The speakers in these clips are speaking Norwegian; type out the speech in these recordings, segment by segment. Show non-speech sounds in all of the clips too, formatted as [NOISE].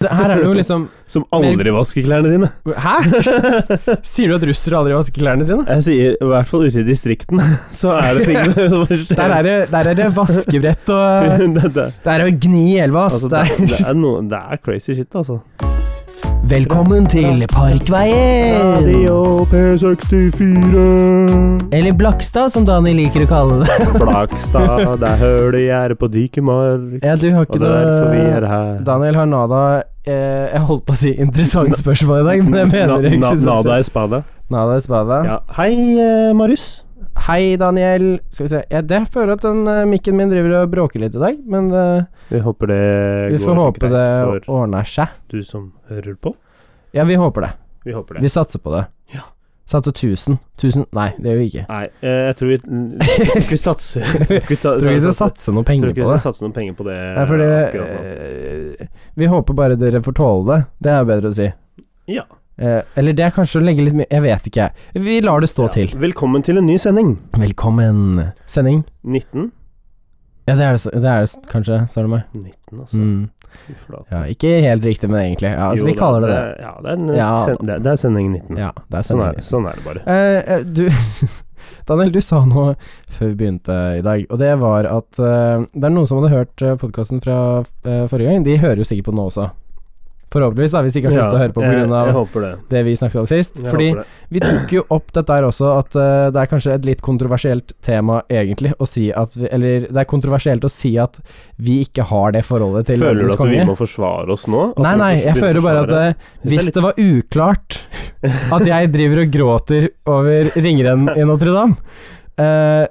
Det, her [LAUGHS] er det jo liksom Som aldri vasker klærne sine. Hæ?! Sier du at russere aldri vasker klærne sine? Jeg sier, i hvert fall ute i distriktene, [LAUGHS] så er [LAUGHS] det ting som skjer. Der er det, der er det vaskebrett og [LAUGHS] det, det, Der er det å gni i elva, ass. altså, det, Det er- det, er noe, det er crazy shit, altså. Velkommen til Parkveien! [LAUGHS] P64. Eller Blakstad, som Daniel liker å kalle det. Blakstad, det er høl i gjerdet på Dikemark. Ja, du har Og ikke det er derfor vi er noe her. Daniel har nada eh, Jeg holdt på å si interessant spørsmål i dag, men jeg mener det Na- ikke. sånn. na- Nada i Spania. Nada i spadet. Ja. Hei, eh, Marius. Hei, Daniel. Skal vi se ja, det, Jeg føler at den eh, mikken min driver og bråker litt i dag, men eh, Vi håper det vi får håpe det greit for ordner seg. du som hører på. Ja, vi håper det. Vi håper det. Vi satser på det. Ja. Satser 1000. 1000 Nei, det gjør vi [LAUGHS] ikke. Nei, eh, jeg tror vi [LAUGHS] Vi satser vi ta- Jeg [LAUGHS] tror ikke vi skal satse noe Tror penger ikke på det. vi skal satse noen penger på det Nei, fordi akkurat nå. eh, Vi håper bare dere får tåle det. Det er bedre å si. Ja. Eh, eller det er kanskje å legge litt mye Jeg vet ikke. Vi lar det stå Ja. til. Velkommen til en ny sending. Velkommen. Sending. 19. Ja, det er det, s- det, er det s- kanskje, sa du meg. 19, altså. Mm. Fy flate. Ja, ikke helt riktig, men egentlig. Ja, altså, Jo vi da, kaller det det. er- Ja, det er, en, Ja. sen, det, er- det er sending 19. Ja, det er sånn, er, sending. det- sånn er det bare. Eh, eh, du [LAUGHS] Daniel, du sa noe før vi begynte i dag, og det var at eh, det er noen som hadde hørt uh, podkasten fra eh, forrige gang. De hører jo sikkert på den nå også. Forhåpentligvis, da, hvis de ikke har sluttet å høre på jeg, jeg pga. håper det. det vi snakket om sist. Jeg Fordi håper det. vi tok jo opp dette her også, at eh, det er kanskje et litt kontroversielt tema egentlig å si at vi, Eller det er kontroversielt å si at vi ikke har det forholdet til Føler du Løvenes at vi konge. må forsvare oss nå? At Nei, vi nei, må jeg begynne føler å bare at forsvare? eh, hvis det var uklart at jeg driver og gråter over ringrennen i Notre-Dame, eh,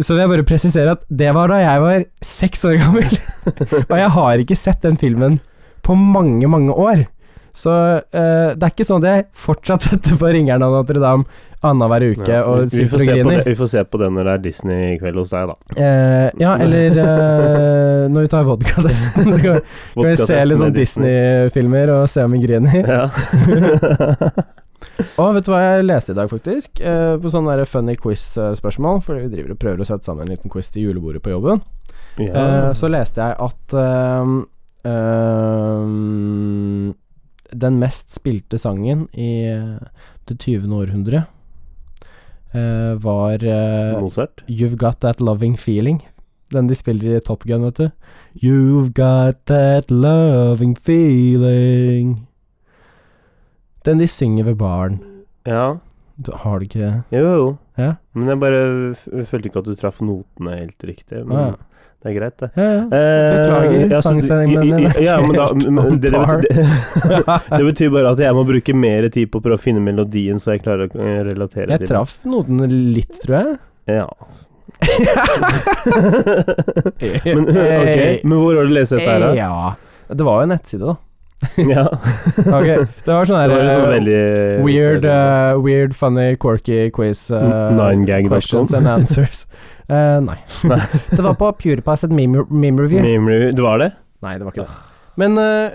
så vil jeg bare presisere at det var da jeg var seks år gammel. [LAUGHS] Og jeg har ikke sett den filmen på mange, mange år. Så eh, det er ikke sånn at jeg fortsatt setter på ringeren av Notre-Dame annenhver eh, uke Ja, vi- og vi, får sitter og se på det, griner. vi får se på det når det er Disney-kveld hos deg, da. Eh, ja, [LAUGHS] eller eh, når vi tar vodkatesten, så kan, kan vi se litt Vodkatesten sånn med Disney. Disney-filmer og se om vi griner. [LAUGHS] [LAUGHS] Ja. Og vet du hva jeg leste i dag, faktisk? Eh, på sånne der funny quiz-spørsmål. For vi driver og prøver å sette sammen en liten quiz til julebordet på jobben. ja. Eh, så leste jeg at ehm, ehm, den mest spilte sangen i eh, det 20. århundre eh, var eh, Mozart. You've Got That Loving Feeling. Den de spiller i Top Gun, vet du. You've got that loving feeling. Den de synger ved baren. Ja. Du, har du ikke det? Jo, jo. Ja. Men jeg bare f- følte ikke at du traff notene helt riktig. Men Ah, ja. det er greit, det. Ja, ja. [LAUGHS] Eh, Beklager, ja, så- sangsending, men den er ja, men da, [LAUGHS] helt men on det, par. det, [LAUGHS] det betyr bare at jeg må bruke mer tid på å prøve å finne melodien, så jeg klarer å eh, relatere Jeg til traff notene litt, tror jeg. det. [LAUGHS] Ja. men, eh, ok, men hvor har du lest dette her, da? Ja. Det var jo en nettside, da. Ja. Ok, Det var sånn [LAUGHS] Det her var liksom eh, veldig Weird, eh, weird, funny, quirky quiz eh, Ninegag.com. Questions and [LAUGHS] answers. Eh, nei. Nei. [LAUGHS] det var på PewDiePie et meme, meme review. Meme review. Det var det? Nei, det var ikke det. Men eh,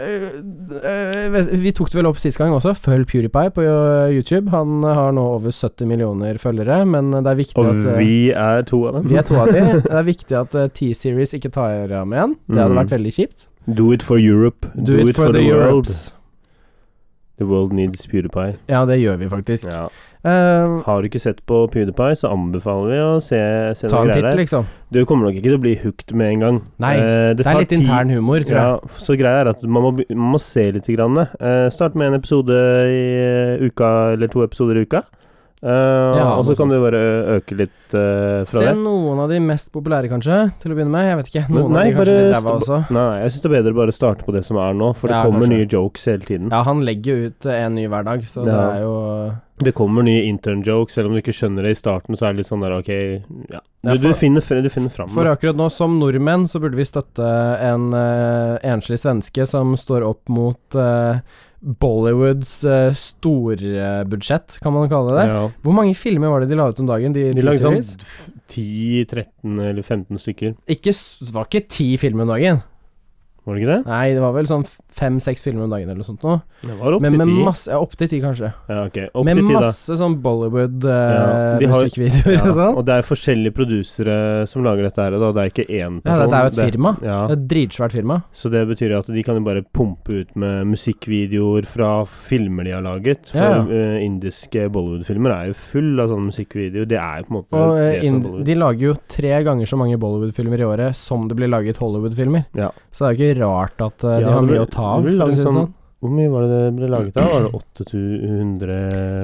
eh, vet- vi tok det vel opp sist gang også. Følg PewDiePie på eh, YouTube. Han eh, har nå over 70 millioner følgere, men det er viktig Og at eh, vi er to av dem. Vi er to av de. Det er viktig at eh, T-Series ikke tar ham igjen. Det hadde Mhm. vært veldig kjipt. Do it for Europe. Do, it, for, the, world. Europes. The world needs PewDiePie. Ja, det gjør vi faktisk. Ja. Eh, Har du ikke sett på PewDiePie, så anbefaler vi å se, se ta en noen greier titt, der. liksom. Du kommer nok ikke til å bli hooked med en gang. Nei, Eh, Det tar er litt tid. intern humor, tror jeg. Ja, så greia er at man må, be- man må se litt. Grann. eh. start med en episode i eh, uka, eller to episoder i uka. Eh, og så noe kan du bare øke litt eh, fra Se det. noen av de mest populære, kanskje, til å begynne med. Jeg vet ikke. Noen Nei, av de kanskje bare litt ræva stopp- også. Nei, jeg syns det er bedre å bare starte på det som er nå, for det Ja, kommer kanskje. nye jokes hele tiden. Ja, han legger jo ut eh, en ny hver dag, så det Ja. er jo eh, Det kommer nye intern jokes, selv om du ikke skjønner det i starten, så er det litt sånn der ok ja. Ja, Du, du, for- finner, fre- du finner fram. For akkurat nå, som nordmenn, så burde vi støtte en eh, enslig svenske som står opp mot eh, Bollywoods uh, storbudsjett, kan man kalle det. Ja. Hvor mange filmer var det de la ut om dagen? De, De ti lagde sånn series? 10-13 eller 15 stykker. sånn- Ikke, s- det var ikke ti filmer om dagen. Var det ikke det? Nei, det var vel sånn fem-seks filmer om dagen eller noe sånt nå. Det var opp Men til med ti. masse Ja, opptil ti, kanskje. Ja, ok. Opp med til ti, da. masse sånn Ja, de har- Bollywood-musikkvideoer Ja, og sånn. og det er forskjellige produsere som lager dette her, da. Det er ikke én person. Ja, dette er jo et firma. Ja, Det er et dritsvært firma. Så det betyr at de kan jo bare pumpe ut med musikkvideoer fra filmer de har laget. For Ja, ja. eh, indiske Bollywood-filmer er jo full av sånne musikkvideoer. Det er jo på en måte Og eh, det som er ind- Bollywood. de lager jo tre ganger så mange Bollywood-filmer i året som det blir laget Hollywood-filmer. Ja. Så det er jo ikke rart at eh, de Ja, har det mye blir- å ta av. det For blir å laget si det sånn- sånn. Hvor mye var det det ble laget da? Var det 800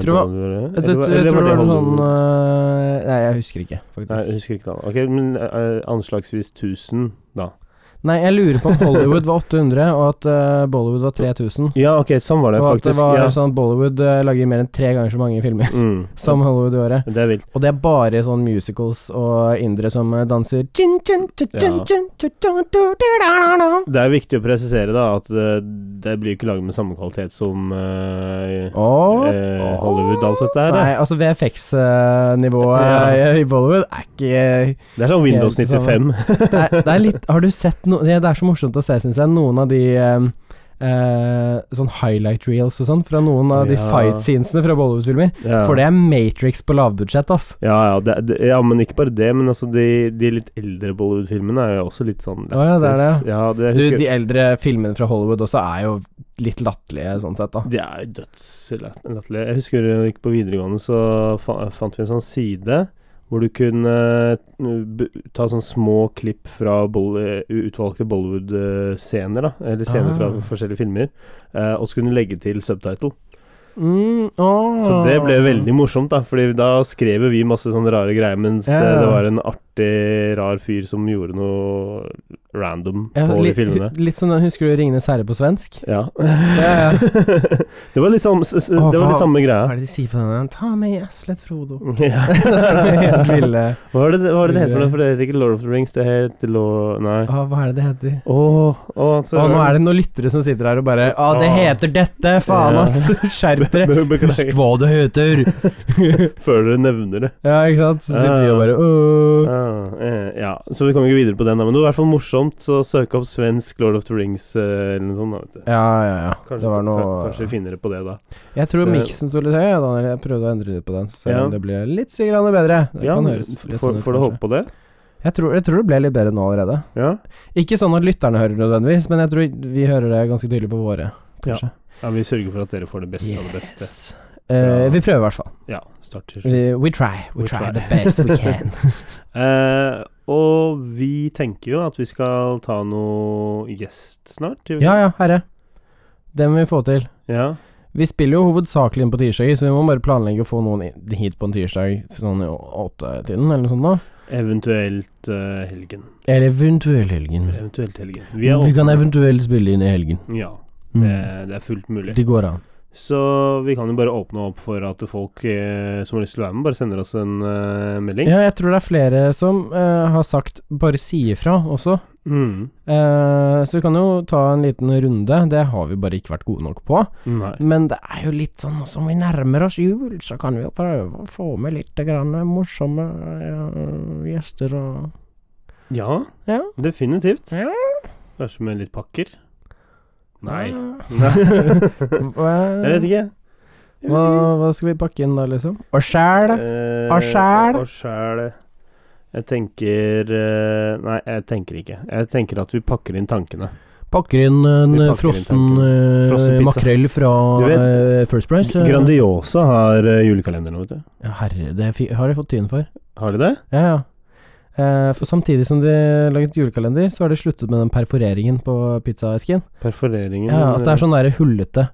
Tror det var- dollar? Jeg, Eller var- tror- eller jeg tror det var noe sånn Hollywood? eh, Nei, jeg husker ikke, Nei, jeg faktisk. husker ikke tallet. Ok, men eh, anslagsvis 1000, da. Nei, jeg lurer på om Hollywood var 800, og at eh, Bollywood var 3000. Ja, ok, sånn var det Og at faktisk. det var ja. sånn at Bollywood eh, lager mer enn tre ganger så mange filmer [LAUGHS] Mm. som Hollywood i året. Det er vilt. Og det er bare sånn musicals og indere som eh, danser Chin, chin, chin, chin, Ja. chin, chin, chin, chin, chin. Det er viktig å presisere da at eh, det blir ikke laget med samme kvalitet som eh, Og eh, Hollywood, alt dette her. Nei, da. altså VFX-nivået Ja. i Bollywood er ikke Det er sånn Windows Helt det samme. 95. [LAUGHS] Det er, det er litt Har du sett noe Det det er så morsomt å se, syns jeg, noen av de eh, eh, sånn highlight reels og sånn fra noen av de Ja. fight scenesene fra Bollywood-filmer. ja. For det er Matrix på lavbudsjett, ass. Ja, ja, det, det, ja, men ikke bare det. Men altså, de, de litt eldre Bollywood-filmene er jo også litt sånn Å ja, det er det, Ja, det Du, husker de eldre filmene fra Hollywood også er jo litt latterlige, sånn sett, da. Det er jo dødslatterlig. Jeg husker da jeg gikk på videregående, så fa fant vi en sånn side hvor du kunne eh, b ta sånn små klipp fra Boll- eh, utvalgte Bollywood-scener, da. Eller scener fra Ah. forskjellige filmer. eh, og så kunne du legge til subtitle. Mm, åh. Så det Ah. ble veldig morsomt, da. Fordi da skrev vi masse sånne rare greier, mens Ja. eh, det var en artig, rar fyr som gjorde noe random ja, på litt, de filmene. hu- litt som den Husker du 'Ringenes herre' på svensk? [LAUGHS] Ja. Ja, ja. det var litt samme, s- s- Å, det var faen. litt samme greia. Hva er det de sier på den? 'Ta meg Aslet Frodo'. [LAUGHS] [LAUGHS] Ja. Helt ville. Hva er det hva er det, det heter Ville. for noe? For det heter ikke Lord of the Rings, det heter Lord Nei. Å, hva er det det heter? Åh, åh, så- Å, nå er det noen lyttere som sitter her og bare Å, det Åh. heter dette! Faen, Ja. ass! [LAUGHS] Skjerp dere! Husk Be- [LAUGHS] Beklager. hva det heter! Før dere nevner det. [LAUGHS] ja, ikke sant? Så sitter vi og bare Åh. Ah, eh, ja, så vi kommer ikke videre på den, da. Men det var i hvert fall morsomt, så søk opp svensk Lord of the Rings eh, eller noe sånt. Da, vet du. Ja, ja, ja. Kanskje, det var kan- noe kanskje vi finner det på det, da. Jeg tror Det- miksen sto litt høy, ja, Daniel. Jeg prøvde å endre litt på den, så Ja. det ble litt så grann bedre. Det ja, kan høres litt får sånn ut, får du håpe kanskje. på det? Jeg tror, jeg tror det ble litt bedre nå allerede. Ja. Ikke sånn at lytterne hører nødvendigvis, men jeg tror vi hører det ganske tydelig på våre, kanskje. ja, vi sørger for at dere får det beste av det beste. Yes. Eh, vi prøver i hvert fall. Ja, start til slutt. We, we try. We, We try, try. the best we [LAUGHS] can. Eh, og vi tenker jo at vi skal ta noe gjest snart. gjør vi ja ja, herre. Det må vi få til. ikke? ja. Vi spiller jo hovedsakelig inn på tirsdager, så vi må bare planlegge å få noen i- hit på en tirsdag sånn i å- åttetiden eller noe sånt. nå. Eventuelt eh, helgen. Eller eventuelt helgen. Eventuelt helgen. Vi er Vi kan åpne. eventuelt spille inn i helgen. Ja, det, Mm. det er fullt mulig. Det går an. Så vi kan jo bare åpne opp for at folk eh, som har lyst til å være med, bare sender oss en eh, melding. Ja, jeg tror det er flere som eh, har sagt 'bare si ifra' også. Mm. Eh, så vi kan jo ta en liten runde. Det har vi bare ikke vært gode nok på. Nei. Men det er jo litt sånn nå som vi nærmer oss jul, så kan vi jo prøve å få med litt grann morsomme eh, gjester og Ja, Ja. definitivt. Ja. Kanskje med litt pakker? Nei. Ja. [LAUGHS] Nei. [LAUGHS] Hva, Jeg vet ikke. hva, hva skal vi pakke inn da, liksom? Og sjæl? Eh, Og sjæl? Og sjæl. Jeg tenker eh, Nei, jeg tenker ikke. Jeg tenker at vi pakker inn tankene. Pakker inn en Vi pakker eh, inn frossen eh, Frossen pizza. makrell fra Du vet, eh, First Price. eh. Grandiosa har eh, julekalender nå, vet du. Ja, herre, det fi- har jeg fått tyn for. Har de det? Ja, ja. Eh, for samtidig som de laget julekalender, så har de sluttet med den perforeringen på pizzaesken. Perforeringen Ja, at det er sånn der hullete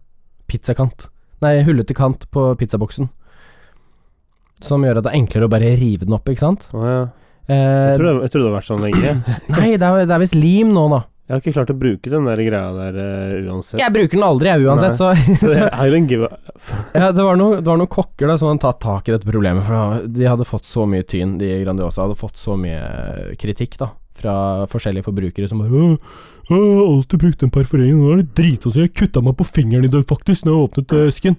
pizzakant. Nei, hullete kant på pizzaboksen. Som gjør at det er enklere å bare rive den opp, ikke sant? Å, ja. Eh, jeg, tror det, jeg tror det har vært sånn lenge. Jeg nei, det er, det er visst lim nå, da. har ikke klart å bruke den der greia der eh, uansett. Jeg bruker den aldri, jeg, uansett, så [LAUGHS] [LAUGHS] Så jeg, I don't give a Ja, det var, noe, det var noen kokker da som hadde tatt tak i dette problemet. For de hadde fått så mye tyn, de Grandiosa hadde fått så mye eh, kritikk da fra forskjellige forbrukere som bare «Åh, åh, Jeg har alltid brukt den perforeringen, nå er det drita så jeg kutta meg på fingeren i dag faktisk når jeg åpnet eh, esken.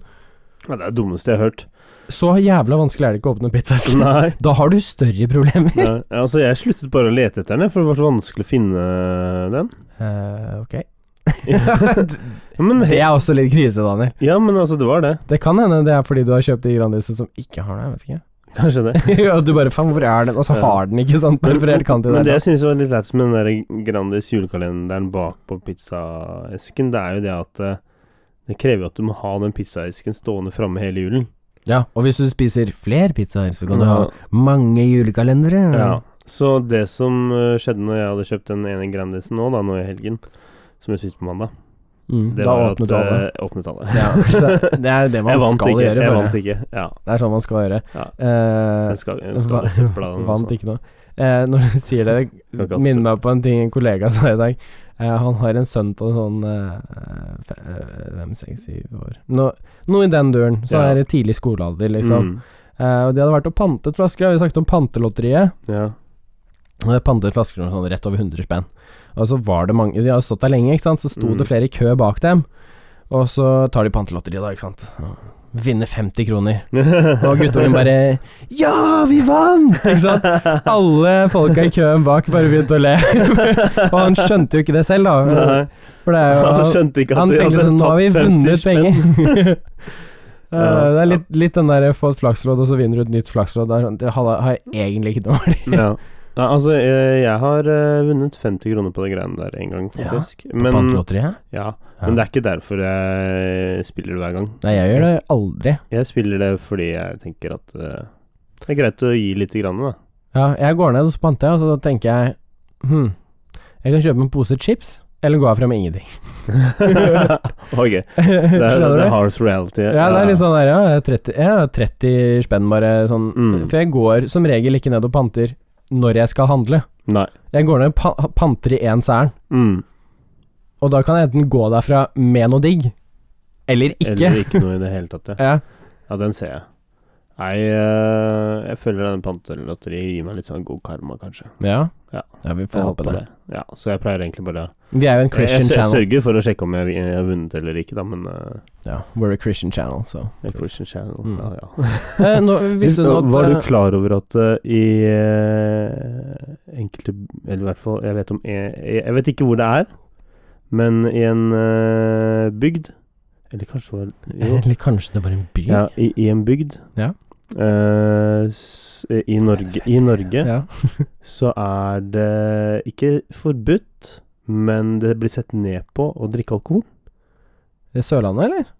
ja, Det er det dummeste jeg har hørt. Så jævla vanskelig er det ikke å åpne pizzaesken. [LAUGHS] Nei. Da har du større problemer. Nei, altså jeg sluttet bare å lete etter den, for det var så vanskelig å finne den. Eh, ok. Ja, [LAUGHS] men, Det he- er også litt krise, Daniel. ja, men altså, det var det. [LAUGHS] Det kan hende det er fordi du har kjøpt de Grandiosa som ikke har det. jeg vet ikke Kanskje det. [LAUGHS] ja, du bare faen, hvor er den? Og så Ja. har den ikke sånn perforert kant i men det det. jeg syns var litt lættis med den der Grandis julekalenderen bakpå pizzaesken, det er jo det at eh, det krever jo at du må ha den pizzaesken stående framme hele julen. Ja, og hvis du spiser flere pizzaer, så kan du Ja. ha mange julekalendere. Ja. Så det som eh, skjedde når jeg hadde kjøpt den ene Grandisen nå, da, nå i helgen, som jeg spiste på mandag, Mm, det da var åpnet at, du alle. eh, åpnet alle. [LAUGHS] Ja, det, det er jo det man [LAUGHS] jeg vant skal ikke. gjøre. jeg føler vant jeg. ikke. Ja. Det er sånn man skal gjøre. Ja. Eh, Jeg skal, jeg skal Va- søpla den Vant også. ikke noe. Eh, når du sier det, Skal ikke ha minn meg på en ting en kollega sa i dag. Eh, han har en sønn på sånn eh, fe- eh, fem, seks, syv år Nå- Noe i den duren. Så Ja. er det tidlig skolealder, liksom. Mm. Eh, og de hadde vært og pantet flasker. Vi har snakket om pantelotteriet. Ja. Og de pantet flasker for sånn rett over 100 spenn. Og så var det mange De hadde stått der lenge, ikke sant. Så sto Mm. det flere i kø bak dem. Og så tar de pantelotteriet, da, ikke sant. Og Vinner 50 kroner. [LAUGHS] Og guttungen [LAUGHS] bare 'Ja, vi vant!' Ikke sant? Alle folka i køen bak bare begynte å le. [LAUGHS] og han skjønte jo ikke det selv, da. Nei, For det er jo han skjønte ikke at Han de tenkte hadde sånn Nå har vi tapt 50 vunnet spenn. penger. [LAUGHS] Eh, Ja, det er ja. litt, litt den der få et flakslodd, og så vinner du et nytt flakslodd. Det er sånn, Det har har jeg egentlig ikke noe verdi. [LAUGHS] Ja. Nei, altså, eh, jeg har eh, vunnet 50 kroner på de greiene der en gang, Ja. faktisk. Men, [LAUGHS] Pantelotteriet? ja. Ja. men det er ikke derfor jeg spiller det hver gang. Nei, jeg gjør det aldri. Jeg spiller det fordi jeg tenker at eh, det er greit å gi lite grann, [LAUGHS] da. [LAUGHS] Ja, jeg går ned, og så panter jeg, og så da tenker jeg Hm, jeg kan kjøpe en pose chips, eller gå herfra med [LAUGHS] ingenting. [LAUGHS] ok. Det er, det Skjønner er du? harsh reality. Ja, det er litt sånn der, ja, jeg har 30, jeg har 30 spenn bare sånn Mm. For jeg går som regel ikke ned og panter når jeg skal handle. Nei. Jeg går ned og pa panter i ens ærend, Mm. og da kan jeg enten gå derfra med noe digg, eller ikke. Eller ikke noe i det hele tatt, ja. Ja. Ja, den ser jeg. Nei, eh, jeg føler den pantelotteriet gir meg litt sånn god karma, kanskje. Ja. Ja. vi får håpe det. Ja, så jeg pleier egentlig bare Vi er jo en jeg, jeg, Christian sø- channel. sørger for å sjekke om jeg, jeg har vunnet eller ikke, da, men eh, Ja, we're a Christian channel, så jeg er Christian Channel. Mm. Ja, ja. eh, nå, Visste du nå at Var du eh, klar over at eh, i eh, enkelte Eller i hvert fall, jeg vet om Jeg, jeg vet ikke hvor det er, men i en eh, bygd Eller kanskje det var Jo. Eller kanskje det var en by? Ja, i, i en bygd. Ja. Eh, s- i, Norge, I Norge Ja. så er det ikke forbudt, men det blir sett ned på å drikke alkohol. I Sørlandet, eller?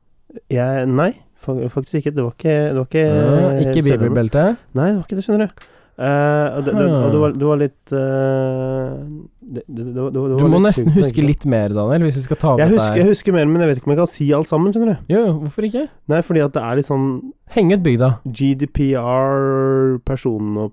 Jeg, nei, fa faktisk ikke. Det var ikke det var ikke, Ja, Ah, ikke Eh, Sørlandet. bibelbeltet? Nei, det var ikke det, skjønner du. Eh, og det, det, og det, var, det var litt eh, det, det, det, var- det var Du må litt nesten sjukt, huske egentlig. litt mer, Daniel, hvis vi skal ta opp jeg dette husker, her. jeg husker mer, men jeg vet ikke om jeg kan si alt sammen, skjønner du. Jo, jo, hvorfor ikke? Nei, fordi at det er litt sånn Henge ut bygda. GDPR,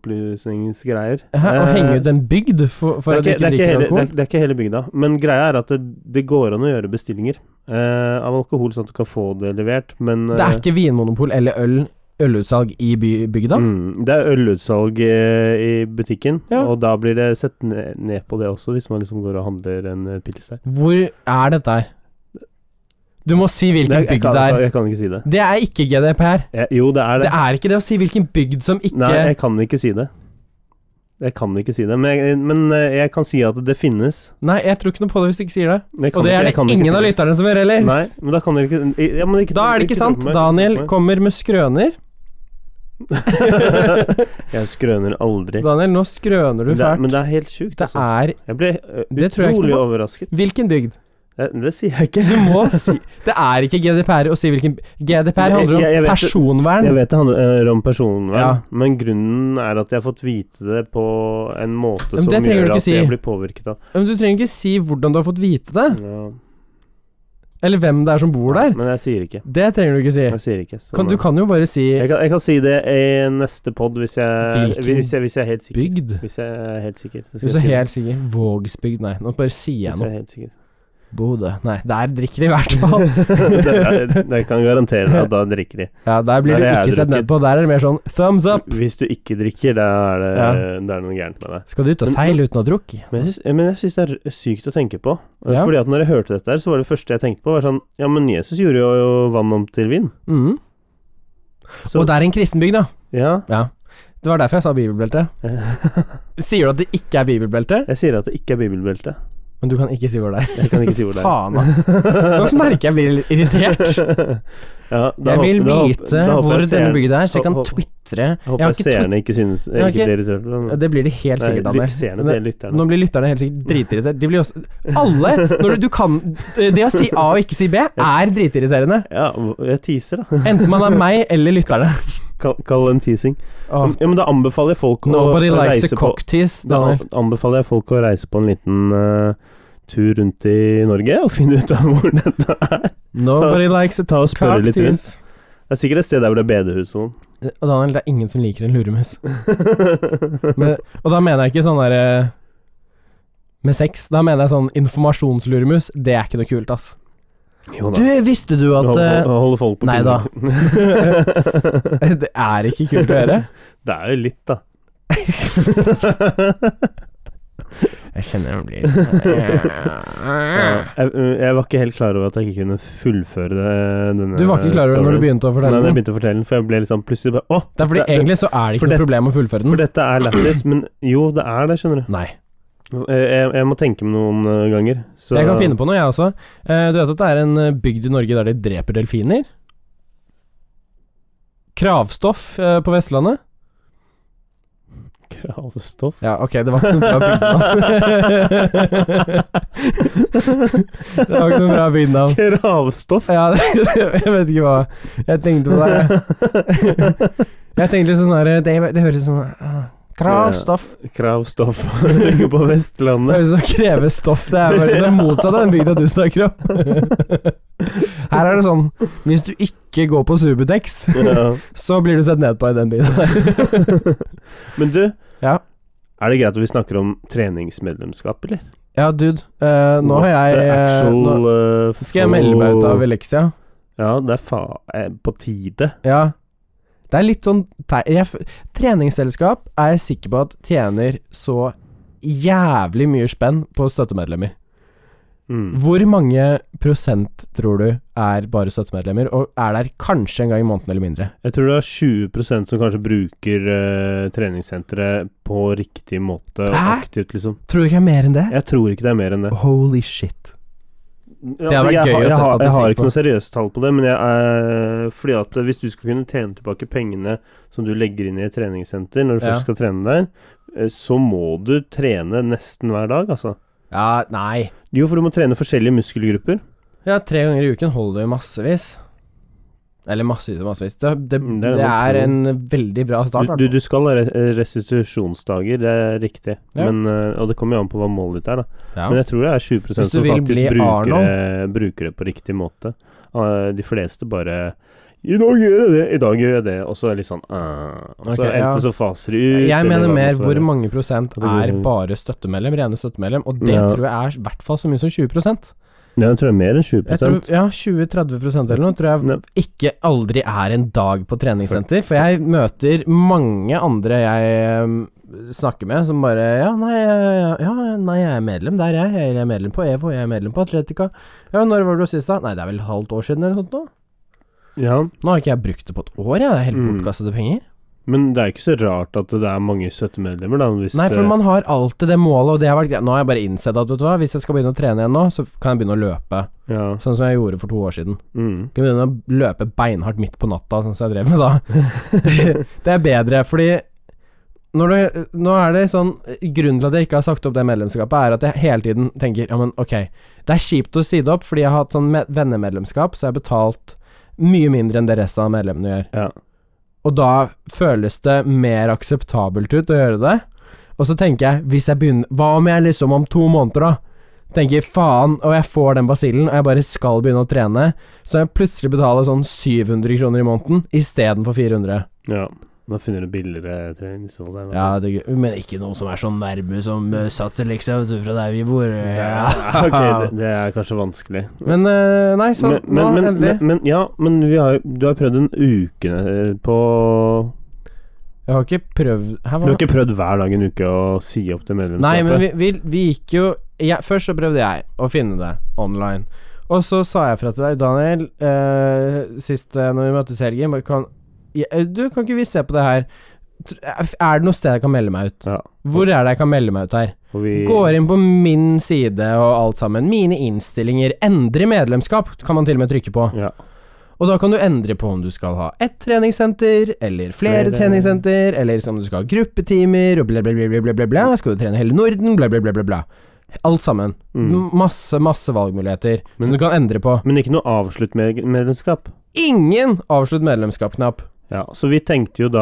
personopplysningsgreier. Hæ, å Eh, henge ut en bygd for, for at du det er ikke det er drikker hele, det, alkohol? er, det er ikke hele bygda. Men greia er at det, det går an å gjøre bestillinger eh, av alkohol, sånn at du kan få det levert, men eh, Det er ikke vinmonopol eller øl, ølutsalg i by, bygda? Mm, det er ølutsalg eh, i butikken, Ja. og da blir det sett ned, ned på det også, hvis man liksom går og handler en eh, pils der. Hvor er dette her? Du må si Nei, hvilken jeg, bygd kan, det jeg, er. kan ikke si det. Det er ikke GDPR. Jeg, jo, det er det. Det er ikke det å si hvilken bygd som ikke Nei, jeg kan ikke si det. Jeg kan ikke si det, men jeg, men eh, jeg kan si at det finnes. Nei, jeg tror ikke noe på det hvis du ikke sier det. Jeg kan Og det er ikke- jeg det kan ikke si ingen av det. lytterne som gjør heller. Nei, men da kan dere ikke, ja, men ikke Da er det ikke sant. tro på meg. Daniel kommer med skrøner. [LAUGHS] Jeg skrøner aldri. Daniel, nå skrøner du Det er, fælt. men det er helt sjukt. Det Altså. er Jeg ble eh, Det tror jeg ikke utrolig på. overrasket. Hvilken bygd? Det, det sier jeg ikke. Du må [LAUGHS] si Det er ikke GDPR å si hvilken GDPR handler om Jeg- jeg vet det. personvern. Jeg vet det handler eh, om personvern, Ja. men grunnen er at jeg har fått vite det på en måte Men som det trenger du gjør ikke at si. jeg blir påvirket av Men du trenger ikke si hvordan du har fått vite det, Ja. eller hvem det er som bor der. Men jeg sier ikke. Det trenger du ikke si. Jeg sier ikke. så- Kan, du kan jo bare si sånn jeg, kan, jeg kan si det i neste pod hvis jeg, Hvilken hvis jeg, hvis jeg er helt sikker. bygd. Hvis jeg er helt sikker. Så skal Du er jeg så si det. helt sikker. Vågsbygd, nei. Nå bare sier jeg Hvis jeg noe. er helt sikker. [LAUGHS] Bodø. Nei, der drikker de i hvert fall. det, er- det kan jeg garantere deg at da drikker de. [LAUGHS] Ja, der blir Nei, du det er ikke det sett ikke. ned på. Der er det mer sånn thumbs up. Hvis du ikke drikker, da er det, Ja. det er noe gærent med deg. Skal du ut og Men- seile uten å ha drukket? Men jeg, syns, men jeg syns det er r- sykt å tenke på. Ja. Fordi at når jeg hørte dette, her, så var det første jeg tenkte på, var sånn Ja, men Jesus gjorde jo, jo vann om til vin. Mm. Så Og det er en kristenbygd, da. ja. Det [LAUGHS] var derfor jeg sa bibelbelte. Sier du at det ikke er bibelbelte? Jeg sier at det ikke er bibelbelte. Men du kan ikke si hvor det er. Jeg kan ikke si hvor det [LAUGHS] er. Faen, ass. Nå merker jeg blir litt irritert. Ja, [LAUGHS] da Jeg vil håper- da håper- vite da håper hvor jeg denne seeren- bygda er, så jeg kan Håper- twitre. Jeg Jeg håper har jeg ikke twitt- seerne ikke synes Jeg har ikke blir irritert. men- Det blir de helt Nei, sikkert, lyt- Anders. Seerne, Men- sier lytterne. Nå blir lytterne helt sikkert dritirritert. De blir også Alle! Når du, du kan Det å si A og ikke si B er dritirriterende. Ja, jeg teaser, da. [LAUGHS] Enten man er meg eller lytterne. Kall, kall en teasing. Åh, Ja, men da anbefaler jeg folk nobody å, å likes reise a på cocktease, Da Daniel. anbefaler jeg folk å reise på en liten eh, tur rundt i Norge og [LAUGHS] finne ut av hvor dette er. Nobody likes a ta og spørre litt cocktease. Det er sikkert et sted der hvor det er bedehus og sånn. Og Daniel, det er ingen som liker en luremus. Men, og da mener jeg ikke sånn derre med sex. Da mener jeg sånn informasjonsluremus. Det er ikke noe kult, ass. Jo Du, da. visste du at Hold- eh, hold- holde folk på nei da. pinnen. Det [LAUGHS] er ikke [LAUGHS] kult å gjøre. det er jo litt, [LAUGHS] da. Jeg kjenner jeg blir Jeg, jeg var ikke helt klar over at jeg ikke kunne fullføre det, denne [LAUGHS] Du var ikke klar over det når storyen. du begynte å fortelle Nei, da jeg den? begynte å fortelle den, for jeg ble litt sånn plutselig bare Å! Det er fordi Det- det- egentlig så er det for ikke noe det- problem å fullføre For den. dette er lættis, men jo, det er det, skjønner du. Nei. Jeg, jeg, jeg må tenke meg noen eh, ganger. Så Jeg kan finne på noe, jeg også. Eh, Du vet at det er en eh, bygd i Norge der de dreper delfiner? Kravstoff eh, på Vestlandet? Kravstoff Ja, ok, det var ikke noe bra bygdenavn. [LAUGHS] [LAUGHS] det var ikke noe bra bygdenavn. Kravstoff? Ja, [LAUGHS] jeg vet ikke hva jeg tenkte på der. [LAUGHS] Jeg tenkte litt sånn her Det, det høres sånn ah, Kravstoff. Kravstoff ligger på Det [LAUGHS] Vestlandet. høres ut som å kreve stoff. Det er bare det motsatte av den bygda du snakker om. [LAUGHS] Her er det sånn Hvis du ikke går på Subutex, Ja. så blir du sett ned på i den byen. Men du, Ja. er det greit at vi snakker om treningsmedlemskap, eller? Ja, dude. eh, nå har The jeg eh, actual, Oh. nå eh, f- Skal jeg melde meg ut av Elixia? Ja, det er fa... eh, På tide. Ja. Det er litt sånn tei- jeg, f- Treningsselskap er jeg sikker på at tjener så jævlig mye spenn på støttemedlemmer. Mm. Hvor mange prosent tror du er bare støttemedlemmer, og er der kanskje en gang i måneden eller mindre? Jeg tror det er 20 som kanskje bruker eh, treningssenteret på riktig måte og Hæ? aktivt, liksom. Tror du ikke det er mer enn det? Jeg tror ikke det er mer enn det. Holy shit. Det hadde vært gøy å se jeg, har- Jeg har statistikk ikke noe seriøst tall på det, men jeg er, fordi at hvis du skal kunne tjene tilbake pengene som du legger inn i et treningssenter når du Ja. først skal trene der, eh, så må du trene nesten hver dag, altså. Ja, nei. Jo, for du må trene forskjellige muskelgrupper. Ja, tre ganger i uken holder jo massevis. Eller massevis og massevis. Det, det, Mm, det det, er det man er tror. en veldig bra start. altså. Du, hvertfall. du, du skal ha re- restitusjonsdager, det er riktig, Ja. men, eh, og det kommer jo an på hva målet ditt er, da. ja. Men jeg tror det er 20 som Hvis du vil bli faktisk bruker, Arnold. eh, bruker det på riktig måte. Eh, De fleste bare i dag gjør jeg det, i dag gjør jeg det, og så er det litt sånn eh, og så Ok, Enten ja. så faser de ut jeg eller mener hva mer måtte hvor være. mange prosent At det går er inn. bare støttemedlem, rene støttemedlem, og det Mm. Ja. tror jeg er i hvert fall så mye som 20 Nei, Jeg tror det er mer enn 20 jeg tror, Ja, 20-30 eller noe tror jeg Ne- ikke aldri er en dag på treningssenter, for jeg møter mange andre jeg eh, snakker med, som bare ja nei, ja, ja, nei, jeg er medlem der, jeg. Jeg er medlem på EVO, jeg er medlem på Atletica. Ja, når var du sist, da? Nei, det er vel et halvt år siden eller noe sånt nå? Ja, Nå har ikke jeg brukt det på et år, jeg. Det er helt Mm. bortkastede penger. men det er ikke så rart at det er mange støttemedlemmer, da. Hvis, Nei, for eh, man har alltid det målet, og det har vært greit. Nå har jeg bare innsett at, vet du hva, hvis jeg skal begynne å trene igjen nå, så kan jeg begynne å løpe. eh, ja, Sånn som jeg gjorde for to år siden. mm, Kunne begynne å løpe beinhardt midt på natta, sånn som jeg drev med da. det er bedre, fordi når du, nå er det sånn Grunnen til at jeg ikke har sagt opp det medlemskapet, er at jeg hele tiden tenker Ja, men ok, det er kjipt å si det opp, fordi jeg har hatt sånn me- vennemedlemskap, så jeg har betalt mye mindre enn det resten av medlemmene gjør. ja. Og da føles det mer akseptabelt ut å gjøre det. Og så tenker jeg, hvis jeg begynner Hva om jeg liksom om to måneder, da? Tenker faen, og jeg får den basillen, og jeg bare skal begynne å trene. Så jeg plutselig betaler sånn 700 kroner i måneden istedenfor 400. ja. Da finner du billigere treningshold der. da. Ja, det, er gøy. men ikke noe som er sånn nærme som eh, satser, liksom, ut fra der vi bor. eh, Ja, Ja. [LAUGHS] ok, det, det er kanskje vanskelig. [LAUGHS] Men eh, nei, så men, men, nå, men, endelig. men, men, ja, men vi har, jo- du har prøvd en uke eh, på jeg har ikke prøvd Hæ, Du har ikke prøvd hver dag en uke å si opp det medlemskapet? Nei, men vi, vi, vi gikk jo jeg, Først så prøvde jeg å finne det online. Og så sa jeg fra til deg, Daniel, eh, sist eh, når vi møttes i helgen bare, kan, ja, Du, kan ikke vi se på det her? tr- Er det noe sted jeg kan melde meg ut? Ja. Hvor er det jeg kan melde meg ut her? Og vi Går inn på min side og alt sammen. Mine innstillinger. Endre medlemskap kan man til og med trykke på. Ja. Og da kan du endre på om du skal ha ett treningssenter, eller flere Flere. treningssenter, eller om du skal ha gruppetimer, og bla, bla, bla, bla, bla, bla, bla. Skal du trene hele Norden, bla, bla, bla, bla, bla. Alt sammen. Mm. Masse, masse valgmuligheter Men- som du kan endre på. Men ikke noe avslutt med medlemskap. Ingen avslutt medlemskap-knapp. Ja, så vi tenkte jo da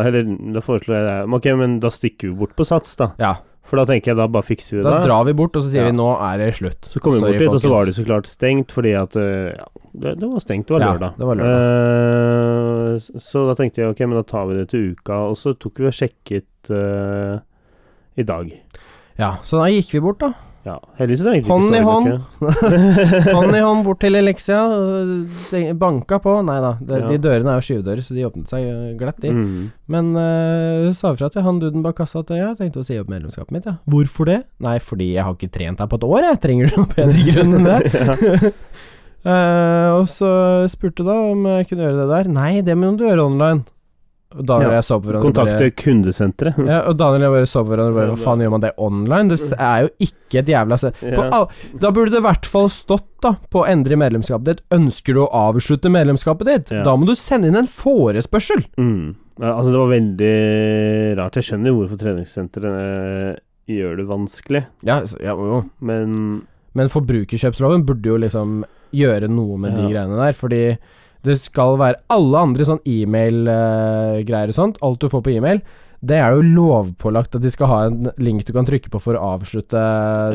Eller da foreslo jeg det. Ok, men da stikker vi bort på sats, da. Ja, For da tenker jeg da bare fikser vi det. da drar vi bort, og så sier Ja. vi nå er det slutt. Så kom vi Sorry, bort dit, og så var folkens. det så klart stengt fordi at øh, ja, det, det var stengt, det var Ja, lørdag. det var Eh, s- så da tenkte jeg ok, men da tar vi det til uka, og så tok vi og sjekket eh, i dag. Ja, så da gikk vi bort, da. Ja, heldigvis er det egentlig Hånd i så hånd. [LAUGHS] mye. [LAUGHS] Hånd i hånd bort til Elixia. og tenk- Banka på. Nei da, de, Ja. de dørene er jo skyvedører, så de åpnet seg eh, glatt, de. Mm. Men uh, sa fra til han duden bak kassa at jeg har tenkt å si opp medlemskapet mitt, ja. Hvorfor det? Nei, fordi jeg har ikke trent her på et år, jeg. Trenger du noen [LAUGHS] bedre grunn enn det? [LAUGHS] Eh, og så spurte da om jeg kunne gjøre det der. Nei, det må du gjøre online. Og Daniel og Ja, jeg så på hverandre og bare- Kontakte kundesenteret. ja, og Daniel og jeg bare så på hverandre og bare Hva faen gjør man det online? Det s- er jo ikke et jævla sted. På Ja. all- Da burde det i hvert fall stått da på å endre medlemskapet ditt. Ønsker du å avslutte medlemskapet ditt? Ja. Da må du sende inn en forespørsel! Mm. Ja, Altså, det var veldig rart. Jeg skjønner jo hvorfor treningssentrene eh, gjør det vanskelig, Ja, s- ja jo. men Men forbrukerkjøpsloven burde jo liksom gjøre noe med de Ja. greiene der, fordi det skal være alle andre sånn e-mail-greier og sånt, alt du får på e-mail, det er jo lovpålagt at de skal ha en link du kan trykke på for å avslutte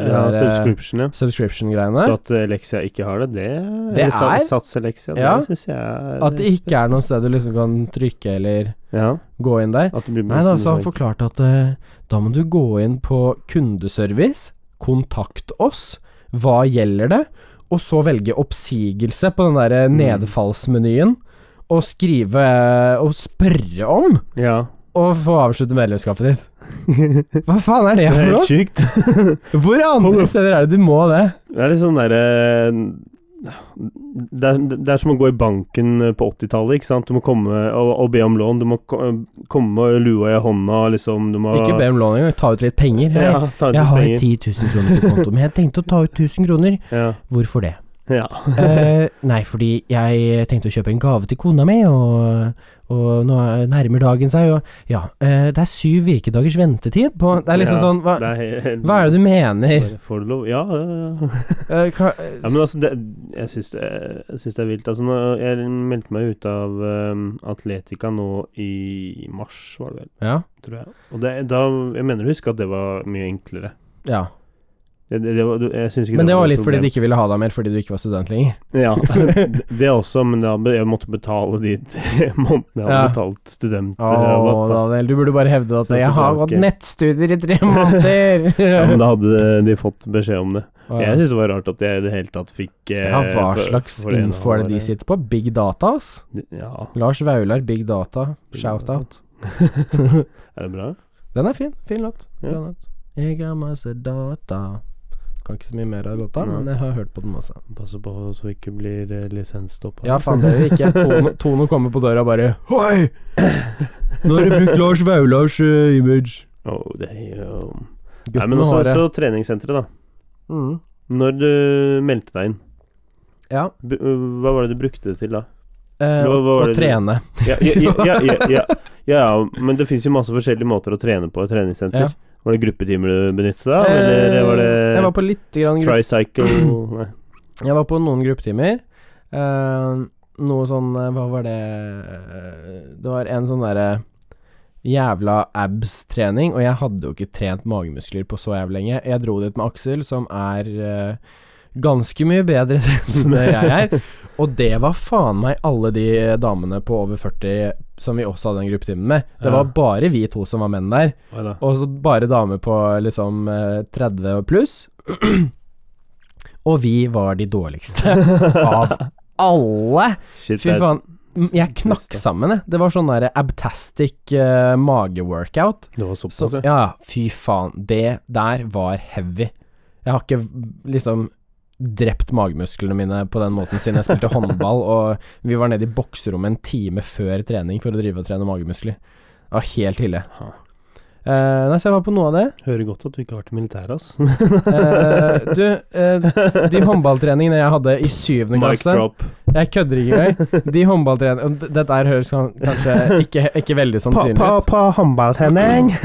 det ja, der, eh, subscription, ja. subscription-greiene. Så at eh, Lexia ikke har det, det, Det eller sa- er- Sats Lexia, Ja. det syns jeg er At det ikke er noe sted du liksom kan trykke eller Ja. gå inn der. At det blir Nei da, så han forklarte at eh, da må du gå inn på kundeservice, kontakt oss, hva gjelder det, og så velge oppsigelse på den der eh, Mm. nedfallsmenyen, og skrive eh, og spørre om Ja. å få avslutte medlemskapet [LAUGHS] ditt. Hva faen er det Det er for helt noe? sjukt. [LAUGHS] Hvor andre steder er det du må det? Det er litt sånn derre eh, det, er- det er som å gå i banken eh, på 80-tallet, ikke sant. Du må komme og, og be om lån. Du må ko- eh, komme med lua i hånda, liksom. Du må Ikke be om lån engang, ta ut litt penger. Hei, ja, ta jeg ut litt har penger. 10 000 kroner på konto, men jeg tenkte å ta ut 1000 kroner. Ja. Hvorfor det? ja. Eh, nei, fordi jeg tenkte å kjøpe en gave til kona mi, og, og nå er- nærmer dagen seg, og ja eh, Det er syv virkedagers ventetid på Det er liksom Ja, sånn Det hva, er helt- hva er det du mener? Bare Får du lov? Ja, ja, ja. Eh, hva, Ja, men altså, det, jeg syns det, jeg syns det er vilt. Altså, nå, jeg meldte meg ut av ehm, Atletica nå i mars, var det vel, ja, tror jeg. Og det, da, jeg mener å huske at det var mye enklere. ja. Det, det, det var, du- jeg syns ikke Men det var noe litt fordi de problem. ikke ville ha deg mer fordi du ikke var student lenger. [LAUGHS] Ja, det også, men da, be- jeg måtte betale de tre [LAUGHS] månedene jeg hadde Ja. betalt Åh, studentrabatt. da. Daniel, du burde bare hevde at Så 'jeg har gått tilbake. nettstudier i [LAUGHS] tre måneder'. Ja, [LAUGHS] men da hadde de fått beskjed om det. Jeg Åh, syns det var rart at jeg i det hele tatt fikk eh, ja, hva for- slags for det ene info er det de halvåret. sitter på? Big data, ass. Ja, Lars Vaular, Big Data. Shout-out. [LAUGHS] er det bra? Den er fin. Fin låt. Ja. Fin låt. Jeg har masse data. Kan ikke så mye mer av låta, Nei. men jeg har hørt på den masse. Passe på så vi ikke blir eh, lisensstoppa. Ja, faen, det er jo [LAUGHS] ikke Tone, Tone kommer på døra og bare Hoi! Nå har du brukt Lars Vaulars eh, image. altså, Oh, det er jo Nei, Gutten men med også, håret. så treningssenteret, da. Mm. Når du meldte deg inn, Ja. bu- hva var det du brukte det til da? Eh, Hva- og, hva var og det du- trene. Ja, ja, ja, ja, ja, ja, ja, men det fins jo masse forskjellige måter å trene på i treningssenter. Ja. Var det gruppetimer du benyttet deg av, Eh, eller var Jeg var det på litt grann gruppe [CLEARS THROAT] tricycle Nei. Jeg var på noen gruppetimer. Eh, noe sånn eh, Hva var det Eh, Det var en sånn derre jævla abs-trening, og jeg hadde jo ikke trent magemuskler på så jævlig lenge. Jeg dro dit med Aksel, som er eh, ganske mye bedre [LAUGHS] trent enn det jeg er. Og det var faen meg alle de damene på over 40 som vi også hadde en gruppetime med. Det Ja. var bare vi to som var menn der. Hva da? Og så bare damer på liksom eh, 30 og pluss. og vi var de dårligste av alle. Shit, Fy [LAUGHS] det er- faen. m- Jeg knakk sammen, jeg. Det var sånn derre abtastic eh, mageworkout. det var Så, såpass, ja, ja. ja, fy faen. Det der var heavy. Jeg har ikke liksom drept magemusklene mine på den måten siden jeg spilte [LAUGHS] håndball, og vi var nede i bokserommet en time før trening for å drive og trene magemuskler. var helt ille. Ha. Eh, nei, så jeg var på noe av det. Hører godt at du ikke har vært i militæret, [LAUGHS] ass. Eh, du, eh, de håndballtreningene jeg hadde i syvende Mic klasse drop. Jeg kødder ikke engang. [LAUGHS] De håndballtreningene og d- Dette her høres sånn- kanskje ikke, ikke veldig sannsynlig ut, håndballtrening.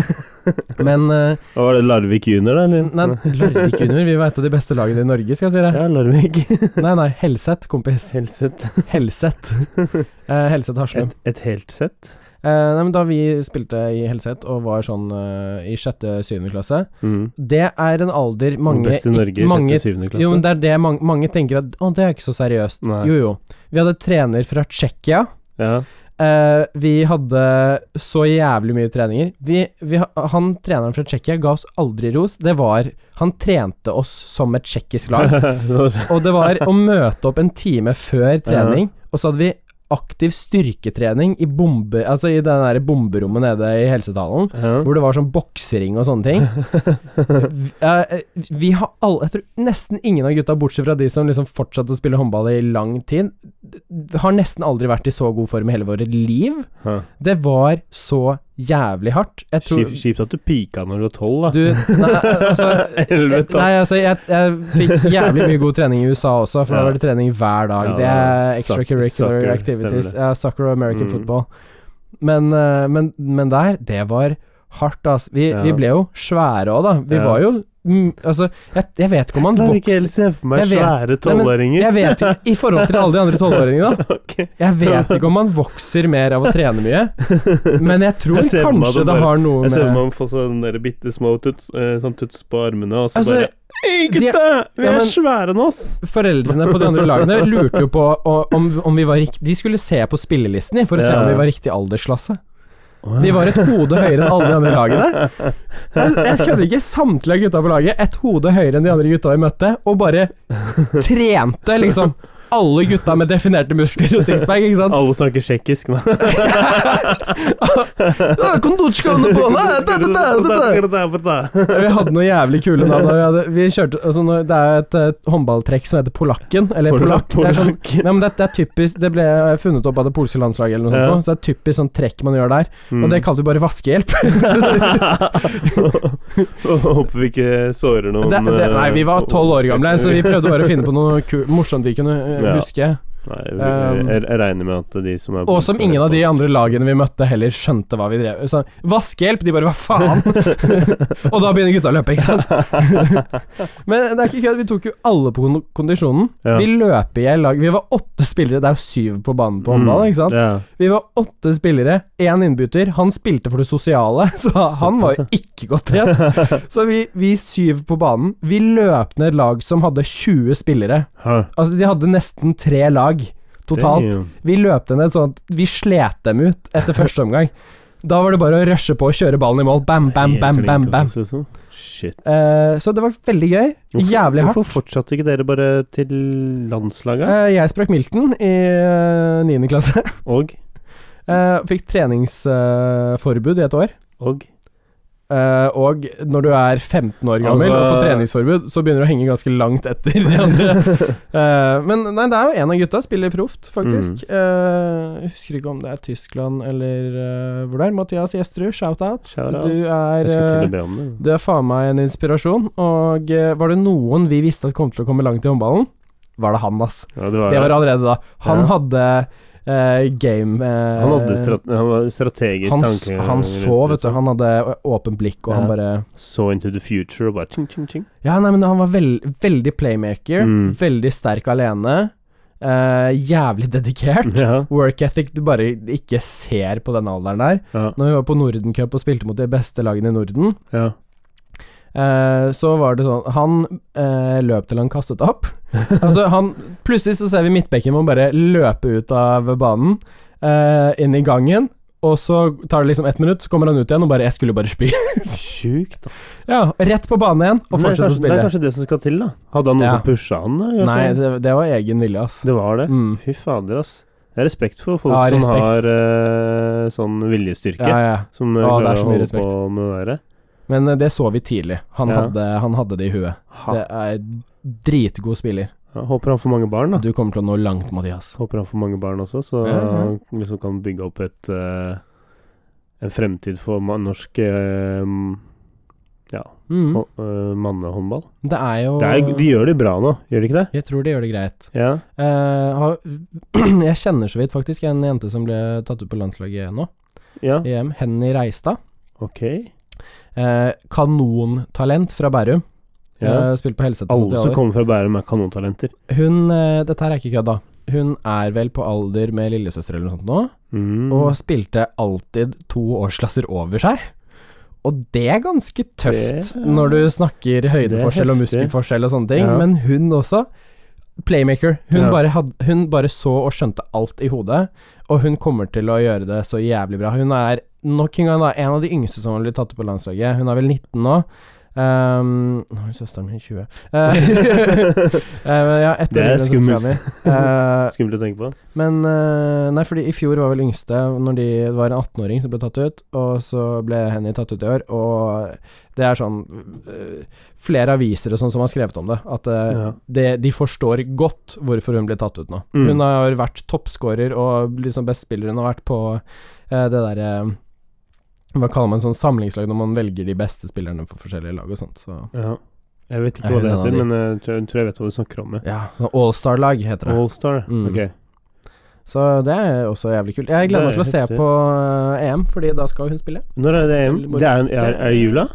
men eh, Var det Larvik junior, da? eller? Nei, Larvik Junior, vi var et av de beste lagene i Norge, skal jeg si deg. [LAUGHS] Ja, Larvik. [LAUGHS] Nei, nei, Helseth, kompis. [LAUGHS] Helset. Helseth. Eh, Helseth Haslum. Et, et helt sett. Eh, nei, men da vi spilte i Helseth og var sånn eh, i sjette-syvende klasse Mm. Det er en alder mange Best i Norge i mange, 7.-7. klasse. Jo, men det er det mange, mange tenker at Å, det er ikke så seriøst. Nei. Jo, jo. Vi hadde trener fra Tsjekkia. ja. [LAUGHS] Eh, vi hadde så jævlig mye treninger. Vi, vi, ha- han treneren fra Tsjekkia ga oss aldri ros. Det var Han trente oss som et tsjekkisk lag. Og det var å møte opp en time før trening, og så hadde vi aktiv styrketrening i bombe... Altså i det der bomberommet nede i helsetalen. ja. Hvor det var sånn boksering og sånne ting. Vi, eh, vi har alle Jeg tror nesten ingen av gutta, bortsett fra de som liksom fortsatte å spille håndball i lang tid, har nesten aldri vært i så god form i hele våre liv. Ja. Det var så jævlig hardt. Jeg tror Kjipt kjipt at du pika når du var tolv, da. Du Nei, altså [LAUGHS] Elleve, tolv. Nei, altså, jeg, jeg fikk jævlig mye god trening i USA også, for da var det trening hver dag. Ja, det er soccer- extracurricular soccer, activities. stemmer Ja, soccer og American Mm. football. Men, eh, men, men der, det var hardt, ass. Vi, Ja. vi ble jo svære òg, da. Vi Ja. var jo mm, Altså, jeg, jeg vet ikke om man Klarer ikke vokser helt se for meg Jeg vet- Nei, svære men tolvåringer. jeg vet, ikke- I forhold til alle de andre tolvåringene, da. Ok. Jeg vet ikke om man vokser mer av å trene mye, [LAUGHS] men jeg tror Jeg ser for meg at kanskje det det bare- har noe Jeg med ser man får sånne sånn der bitte små tuts, eh, sånn tuts på armene, og så Altså, bare Hei, de- gutta! Vi Ja, er men- svære nå, ass! Foreldrene på de andre lagene lurte jo på å- om, om vi var riktig De skulle se på spillelisten de, for å se Ja. om vi var riktig aldersklasse. Vi var et hode høyere enn alle de andre lagene. Jeg, jeg kødder ikke. Samtlige av gutta på laget et hode høyere enn de andre gutta vi møtte, og bare trente, liksom. Alle gutta med definerte muskler og sixpack, ikke sant. Alle snakker tsjekkisk, [LAUGHS] nei. [LAUGHS] Vi hadde noen jævlig kule navn. og Vi, hadde, vi kjørte altså, når- Det er et eh, håndballtrekk som heter Polakken, eller Polakk. Det er sånn Nei, men det, det er typisk Det ble funnet opp av det polske landslaget, eller noe Ja. sånt, nå, så det er typisk sånn trekk man gjør der. Og Mm. [LAUGHS] det kalte vi bare vaskehjelp. [LAUGHS] Håper vi ikke sårer noen det, det, nei, vi var Sånn, eh, tolv år gamle, så vi prøvde bare å finne på noe ku morsomt vi kunne eh, Ja. huske. Nei, jeg, jeg, jeg regner med at de som er Um, Og som ingen av de andre lagene vi møtte, heller skjønte hva vi drev med. Så vaskehjelp! De bare hva faen? [LAUGHS] og da begynner gutta å løpe, ikke sant? [LAUGHS] men det er ikke kødd, vi tok jo alle på kon- kondisjonen. Ja. Vi løp i hjel lag. Vi var åtte spillere, det er jo syv på banen på håndball, ikke sant? Mm, Ja. Vi var åtte spillere, én innbytter. Han spilte for det sosiale, [LAUGHS] så han var jo ikke godt trent. [LAUGHS] Så vi, vi syv på banen. Vi løp ned et lag som hadde 20 spillere. Hæ? Altså, de hadde nesten tre lag totalt. Damn. Vi løp ned sånn at vi slet dem ut etter [LAUGHS] første omgang. Da var det bare å rushe på og kjøre ballen i mål. Bam, bam, Helt bam, klink, bam, bam. altså, sånn. Shit. Eh, så det var veldig gøy. Hvorfor- Jævlig hardt. Hvorfor fortsatte ikke dere bare til landslaget? Eh, jeg sprakk milten i eh, niende klasse. [LAUGHS] Og? Eh, fikk treningsforbud i et år. Og? Eh, og når du er 15 år gammel Altså- og får treningsforbud, så begynner du å henge ganske langt etter de [LAUGHS] andre. Eh, men nei, det er jo en av gutta spiller proft, faktisk. Mm. Eh, jeg husker ikke om det er Tyskland eller eh, hvor det er. Mathias Gjestrud, shout-out. Shout-out. Du er Jeg skal til og eh, be om det. du er faen meg en inspirasjon, og eh, var det noen vi visste at kom til å komme langt i håndballen, var det han, ass. Ja, det var, Det var allerede da. Han Ja. hadde eh, game eh, han hadde strate, han var strategisk han, s- tanke. han så, vet du. Han hadde eh, åpent blikk, og han Ja. bare Så into the future og bare ching, [LAUGHS] ching, ching. Ja, nei, men han var vel- veldig playmaker, Mm. veldig sterk alene, eh, jævlig dedikert. Ja, Work ethic du bare ikke ser på den alderen der. ja, Når vi var på Nordencup og spilte mot de beste lagene i Norden, ja. eh, så var det sånn Han eh, løp til han kastet [LAUGHS] opp. altså, han Plutselig så ser vi midtbekken hvor han bare løpe ut av banen, eh, inn i gangen, og så tar det liksom ett minutt, så kommer han ut igjen og bare 'Jeg skulle bare spy'. [LAUGHS] Sjukt, da. ja, rett på banen igjen, og Men det er fortsette å kanskje- Det er spille. kanskje det som skal til, da. Hadde han noen Ja. som pusha han? da? kanskje? Nei, det, det var egen vilje, ass. det var det. Mm. Fy fader, ass. Det er respekt for folk Ja, som respekt. har eh, sånn viljestyrke. Ja, ja. Som eh, Å, det er klarer så mye å holde respekt. på med det der. Men eh, det så vi tidlig. Han, Ja. hadde, han hadde det i huet. Ha. Det er dritgod spiller. Jeg håper han får mange barn, da. Du kommer til å nå langt, Mathias. Håper han får mange barn også, så Ja, ja. han liksom kan bygge opp et eh, en fremtid for ma- norsk eh, ja, Mm. hå- eh, mannehåndball. Det er jo Det er, de gjør det bra nå, gjør de ikke det? Jeg tror de gjør det greit. Ja. Eh, har, [CLEARS THROAT] jeg kjenner så vidt faktisk en jente som ble tatt ut på landslaget nå, ja. i EM. Henny Reistad. Ok. Eh, kanontalent fra Bærum. Ja. Eh, spilt på Helsetet Alle 70 som år. kommer fra Bærum, er kanontalenter. Hun eh, Dette her er ikke kødd, da. Hun er vel på alder med lillesøster eller noe sånt nå, Mm. [LAUGHS] og spilte alltid to årsklasser over seg. Og det er ganske tøft Det er- når du snakker høydeforskjell og heftig. muskelforskjell og sånne ting, Ja. men hun også Playmaker. Hun, Ja. bare had, hun bare så og skjønte alt i hodet, og hun kommer til å gjøre det så jævlig bra. Hun er nok en gang da, en av de yngste som har blitt tatt ut på landslaget. Hun er vel 19 nå. Um, nå er søsteren min 20. Eh, [LAUGHS] eh, ja, ett Det år er yngre enn søstera mi. Eh, Skummelt å tenke på. men eh, Nei, fordi i fjor var vel yngste Når de, det var en 18-åring som ble tatt ut Og så ble Henny tatt ut i år Og det er sånn eh, Flere aviser og sånn som har skrevet om det At eh, Ja. det, de forstår godt Hvorfor hun ble tatt ut nå Mm. Hun har vært toppskårer Og liksom bestspiller hun har vært på eh, Det der eh, Hva kaller man sånn samlingslag Når man velger de beste spillerne for forskjellige lag og sånt Så Ja. Jeg vet ikke Er hva hun det en av heter, de? men jeg tror, jeg tror jeg vet hva du snakker om. jeg. ja, sånn All-star-lag heter det Allstar. Mm. Ok. Så det er også jævlig kult. Jeg Det gleder meg er til å se heftig. på eh, EM, Fordi da skal hun spille. Når er det EM? Veldig moro. Det er, er, er det jula?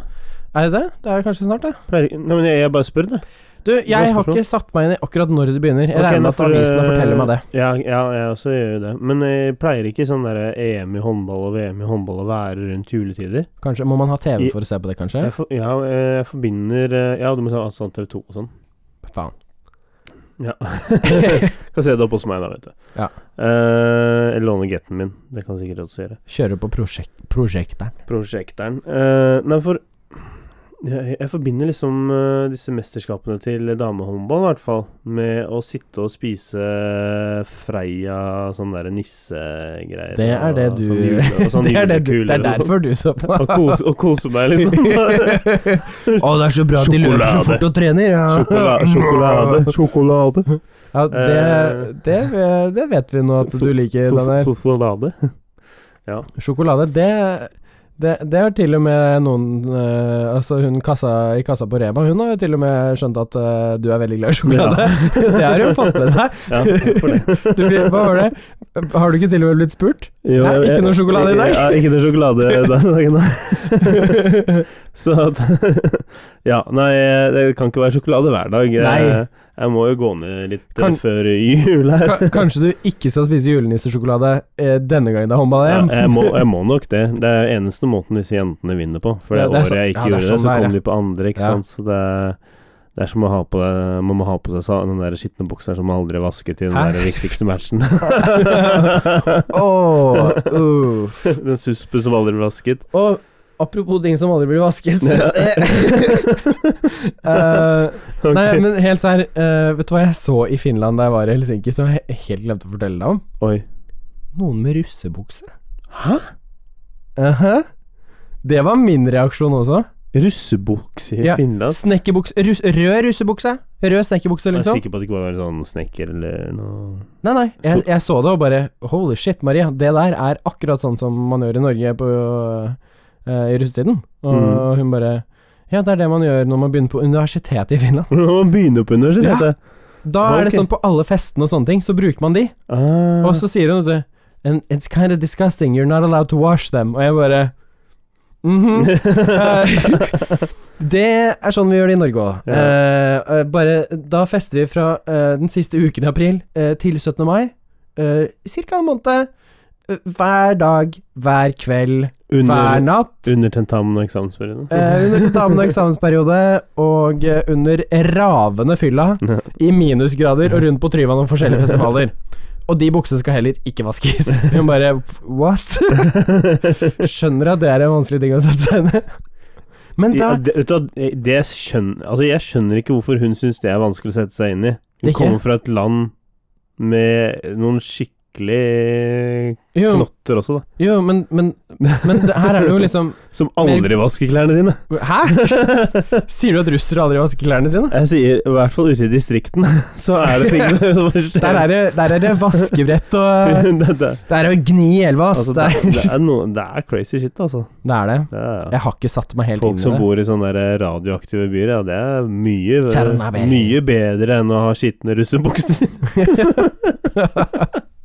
Er det det? Det er kanskje snart, det. Pleier, nei, men jeg, jeg bare spør, det. Du, Bra jeg har spørsmål. ikke satt meg inn i akkurat når det begynner. Jeg Ok, regner nå med at får du- avisene forteller meg det. Ja, ja, jeg også gjør det. Men eh, jeg pleier ikke sånn derre EM i håndball og VM i håndball å være rundt juletider. Kanskje, Må man ha TV I- for å se på det, kanskje? Jeg, for, ja, eh, jeg forbinder eh, Ja, du må ta sånn TV 2 og sånn. Faen. Ja. kan se det opp hos meg, da, vet du. Ja. Eh, jeg låner getten min. Det kan sikkert også gjøre. [LAUGHS] Kjører på prosjek prosjekteren. Prosjekteren. Eh, nei, for jeg, jeg forbinder liksom eh, disse mesterskapene til damehåndball, i hvert fall, med å sitte og spise Freia sånn derre nissegreier. Det er det du Og, sånn jule- og [LAUGHS] sånn det, er det, du- julekuler det er og- derfor du så [LAUGHS] på. Og kose, og kose meg, Å, liksom. det er så bra at de løper så Sjokolade. fort og trener! Ja. Sjokolade. Sjokolade. Eh. sjokolade. [LAUGHS] Ja, det, det, det vet vi nå at du liker, Daniel. Sjokolade. Sjokolade, det det, det har til og med noen eh, Altså hun kassa, i kassa på Rema Hun har jo til og med skjønt at eh, du er veldig glad i sjokolade. [LAUGHS] det har hun fått med seg. Ja, for det. Du blir, hva var det? Har du ikke til og med blitt spurt? Jo, Nei, jeg- ikke noe sjokolade i dag. Ja, ikke noe sjokolade i dag, nei. [LAUGHS] Så at [LAUGHS] Ja, nei, det kan ikke være sjokolade hver dag. Jeg- Nei. Jeg må jo gå ned litt eh, Kan- før jul her. Ka kanskje du ikke skal spise julenissesjokolade eh, denne gangen det er Ja, håndball-EM? jeg, må, jeg må nok det. Det er eneste måten disse jentene vinner på. For Ja, det er det året sånn- jeg ikke ja, det er gjorde det, sånn det så er, kom ja. de på andre, ikke Ja. sant. Så det er, det er som å ha på deg Man må ha på seg sa- den der skitne buksa som man aldri vasket i den Hæ? der viktigste [LAUGHS] matchen. [LAUGHS] Åh, uff. den suspe som aldri ble vasket. Og apropos ting som aldri blir vasket [LAUGHS] Eh, Ok. Nei, men helt sær, eh, vet du hva jeg så i Finland da jeg var i Helsinki, som jeg he- helt glemte å fortelle deg om? Oi. Noen med russebukse. Hæ? Aha. Det var min reaksjon også. Russebukse i Ja, Finland? Snekkerbukse rus, Rød russebukse. Rød snekkerbukse, Jeg er liksom. sikker på at det ikke var en sånn snekker eller noe [LAUGHS] Nei, nei. Jeg, jeg så det og bare Holy shit, Maria. Det der er akkurat sånn som man gjør i Norge på, eh, i russetiden. Og Mm. hun bare Ja, det er det man gjør når man begynner på universitetet i Finland. Når man begynner på universitetet? Da er det Ok. sånn på alle festene og sånne ting, så bruker man de. Ah, Og så sier hun vet du, And it's kind of disgusting, you're not allowed to wash them. Og jeg bare [LAUGHS] mhm. Eh, Det er sånn vi gjør det i Norge òg. Ja. bare Da fester vi fra eh, den siste uken i april eh, til 17. mai. Uh, Cirka en måned. eh, hver dag, hver kveld, hver under, natt. under tentamen og eksamensperioden? Eh, under tentamen og eksamensperiode, og eh, under ravende fylla, Ja. i minusgrader og rundt på Tryvann og forskjellige festivaler. Og de buksene skal heller ikke vaskes. [LAUGHS] Hun bare What? Skjønner at det er en vanskelig ting å sette seg inn i. Men da Ja, det, vet du hva, eh, det- det skjønner, altså jeg skjønner ikke hvorfor hun syns det er vanskelig å sette seg inn i. Hun Det er ikke- kommer fra et land med noen skikk... skikkelig Jo, knotter også, da. jo men, men, [LAUGHS] men det, her er det jo liksom Som aldri vasker klærne sine. [LAUGHS] Hæ? Sier du at russere aldri vasker klærne sine? Jeg sier, i hvert fall ute i distriktene, [LAUGHS] så [LAUGHS] er det ting som skjer. Der er det, der er det vaskebrett og [LAUGHS] det, det, Det er å gni i elva, ass. altså, det, det, er, det, er noe- det er crazy shit, altså. [LAUGHS] det er det. Det er, Jeg har ikke satt meg helt Folk inn i som det. bor i sånne der radioaktive byer, ja, det er mye, eh, Tsjernobyl. mye bedre enn å ha skitne russebukser. [LAUGHS] [LAUGHS]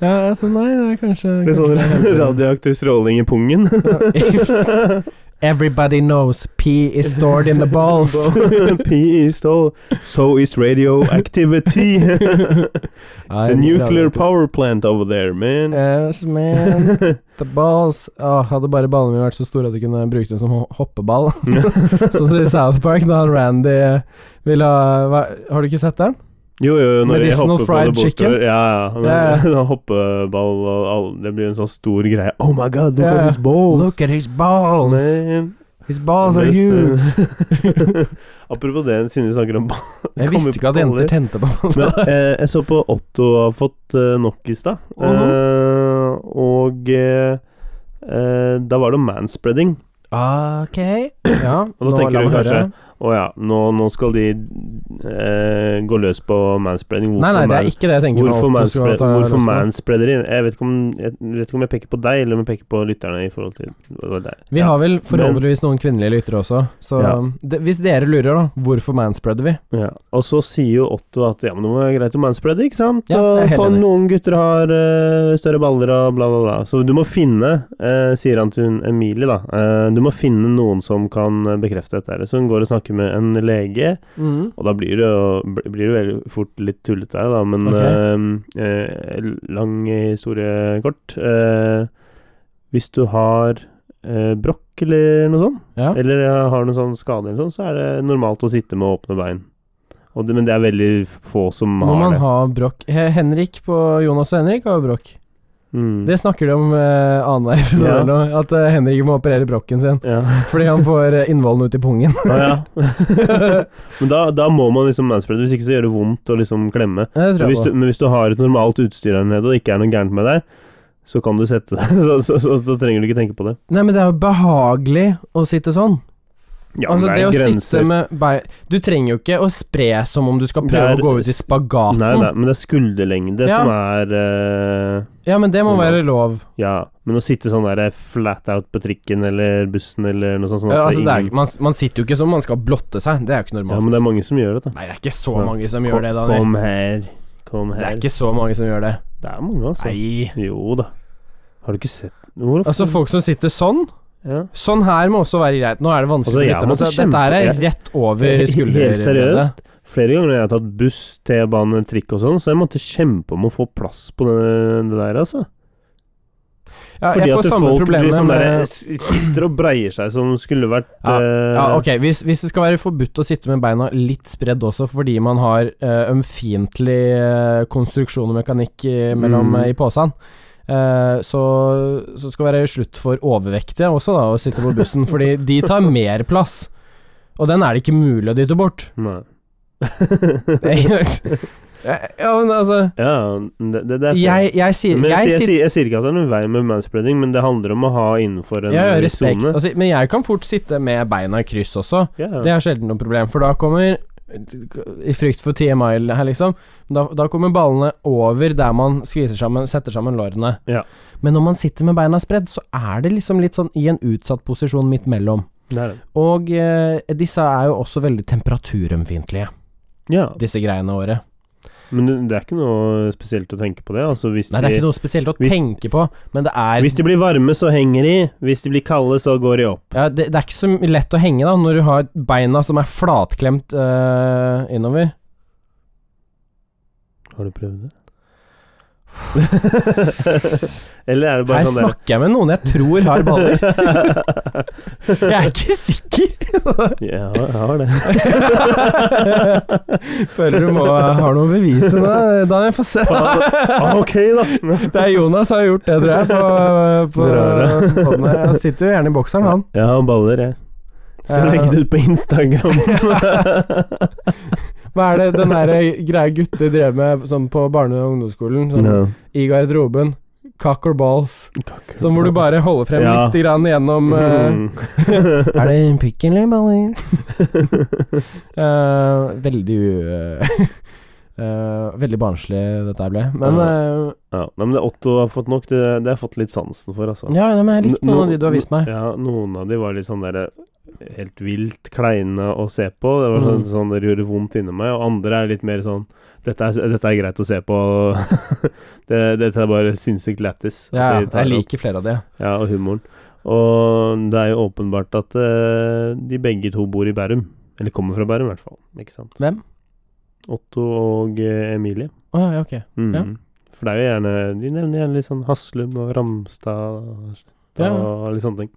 Ja, så nei, det er kanskje, Med sånn kanskje det er helt- radioaktiv stråling i [LAUGHS] pungen. [LAUGHS] Everybody knows pee is stored in the balls. [LAUGHS] P is tall, so is [LAUGHS] radioactivity. It's a nuclear power plant over there, man. Yes, man. The balls. Åh, hadde bare ballene mine vært så store at du kunne brukt dem som ho- hoppeball. [LAUGHS] sånn som i South Park, da han Randy eh, ville ha hva, Har du ikke sett den? [LAUGHS] Jo, jo, når jeg Medicinal hopper på fried det bortover. chicken? Ja, ja. Ja, [LAUGHS] Når- når Hoppeball og all, Det blir en sånn stor greie. Oh my god, look Ja. at his balls! Look at his balls. Man. His balls are Det huge. beste. [LAUGHS] Apropos det, siden vi snakker om ball Jeg visste ikke at Kommer på jenter tente baller. på [LAUGHS] Men, baller. eh, Jeg så på Otto har fått eh, nok i stad. Eh, og eh, eh, da var det om manspreading. Ok. Ja, Og da nå la tenker du meg høre. kanskje, Å ja, nå, nå skal de eh, gå løs på manspreading. Nei, nei, det er ikke det jeg tenker. med Hvorfor, Otto skal manspre ta hvorfor løs på. manspreadere? Jeg vet, ikke om, jeg vet ikke om jeg peker på deg, eller om jeg peker på lytterne. i forhold til hva det er. Vi ja. har vel forhåpentligvis noen kvinnelige lyttere også, så Ja. det, hvis dere lurer, da, hvorfor manspreader vi? Ja. Og så sier jo Otto at ja, men det må være greit å manspreade, ikke sant? Ja, jeg er og helt for enig. noen gutter har eh, større baller og bla, bla, bla. Så du må finne, eh, sier han til hun Emilie, da, eh, du må finne noen som kan eh, bekrefte dette. her. Så hun går og snakker med en lege, og da blir det jo bl- blir det veldig fort litt tullete her, da, men eh, eh, lang historie kort. Eh, hvis du har eh, brokk eller noe sånt, Ja. eller eh, har noen sånn skade eller sånn, så er det normalt å sitte med åpne bein. Og det, men det er veldig få som Må har man det. ha brokk He- Henrik på Jonas og Henrik har jo brokk. Mm. Det snakker de om eh, annenhver episode Ja. eller noe, at eh, Henrik må operere brokken sin [LAUGHS] Ja. [LAUGHS] fordi han får eh, innvollen ut i pungen. Å, ja. [LAUGHS] men da, da må man liksom manspreade, hvis ikke så gjør det vondt å liksom klemme. [LAUGHS] Ja, Det Men tror hvis, du, jeg på. men hvis du har et normalt utstyr her nede og det ikke er noe gærent med deg, så kan du sette deg. [LAUGHS] Så, så, så, så trenger du ikke tenke på det. Nei, men det er jo behagelig å sitte sånn. Ja, altså, men det, er å grenser. sitte med bein Du trenger jo ikke å spre som om du skal Det prøve er- å gå ut i spagaten. Nei, nei, men det er skulderlengde Ja. som er eh, Ja, men det må være lov. Ja. Men å sitte sånn der flat out på trikken eller bussen eller noe sånt sånn at Ja, altså, det er, ingen- man, man sitter jo ikke som om man skal blotte seg. Det er jo ikke normalt. Ja, men det er mange som gjør det, da. Nei, det er ikke så Ja. mange som gjør det, Kom- Daniel. Kom her. Kom her. Det er ikke så mange som gjør det. Det er mange, altså. Nei. Jo da. Har du ikke sett Hvor ofte Altså, folk som sitter sånn ja. Sånn her må også være greit. Nå er det vanskelig Altså, jeg å lytte, men måtte så dette her er kjempe- rett over Helt skulderleddet. seriøst. Flere ganger når jeg har tatt buss, T-bane, trikk og sånn, så jeg måtte kjempe om å få plass på det, det der, altså. Ja, Fordi jeg får at samme folk blir problemet sånn der, med sitter og breier seg som skulle vært Ja, eh, ja, ok, hvis, hvis det skal være forbudt å sitte med beina litt spredd også fordi man har eh, ømfintlig eh, konstruksjon og mekanikk i, mellom, Mm. eh, i posen, eh, så, så skal det være slutt for overvektige også, da, å sitte på [LAUGHS] bussen, fordi de tar mer plass. Og den er det ikke mulig å dytte bort. [LAUGHS] [LAUGHS] Nei. Det er helt- ja, men altså [LAUGHS] ja, det, det, det er fair. Jeg, jeg sier men jeg, jeg sier- jeg, sitter- sier, jeg sier ikke at det er noen vei med manspreading, men det handler om å ha innenfor en ja, ja, viss respekt. sone. Altså, men jeg kan fort sitte med beina i kryss også. Ja, ja. Det er sjelden noe problem, for da kommer I frykt for TMI her, liksom. Da, da kommer ballene over der man skviser sammen, setter sammen lårene. Ja. Men når man sitter med beina spredd, så er det liksom litt sånn i en utsatt posisjon midt mellom. Det er det. Og eh, disse er jo også veldig temperaturømfintlige, Ja, disse greiene våre. men det- det er ikke noe spesielt å tenke på det. Altså, hvis, Nei, det er de, ikke noe spesielt å hvis- tenke på, men det er hvis de blir varme, så henger de. Hvis de blir kalde, så går de opp. ja, det, det er ikke så lett å henge da, når du har beina som er flatklemt eh, innover. [LAUGHS] Har du [LAUGHS] prøvd det? Eller er det Her bare sånn der snakker jeg med noen jeg tror har [LAUGHS] baller. Jeg er ikke sikker. ja, jeg har det. [LAUGHS] Føler du må har noe å bevise nå. Daniel, få se. Ah, ok, da. Det er Jonas har gjort det, tror jeg, på, på Bra, bra. podden her. Han sitter jo gjerne i bokseren, han. Jeg har baller, jeg. Så Ja. [LAUGHS] legg det ut på Instagram. Hva er det den der greia gutter drev med sånn på barne- og ungdomsskolen? Sånn, Ja. I garderoben. Cock or balls. Sånn hvor du bare holder frem Ja. litt grann gjennom eh, Mm. [LAUGHS] Er [LAUGHS] det pikk eller baller? [LAUGHS] Eh, veldig u... [LAUGHS] eh, veldig barnslig dette her ble. Men eh, ja, nei, men det Otto har fått nok, det, det har jeg fått litt sansen for, altså. ja, nei, men jeg likte No- noen av de du har vist meg. Ja, noen av de var litt sånn derre helt vilt kleine å se på. Det var sånn, Mm. sånn det gjorde vondt inni meg. Og andre er litt mer sånn dette er, dette er greit å se på. [LAUGHS] det, dette er bare sinnssykt lættis. at Ja, de tar jeg det opp. liker flere av de. Ja, og humoren. Og det er jo åpenbart at eh, de begge to bor i Bærum. Eller kommer fra Bærum, i hvert fall. Ikke sant? Hvem? Otto og eh, Emilie. Å ja, ok. Mhm. Ja. For det er jo gjerne De nevner gjerne litt sånn Haslum og Ramstad og, Ja. og litt sånne ting.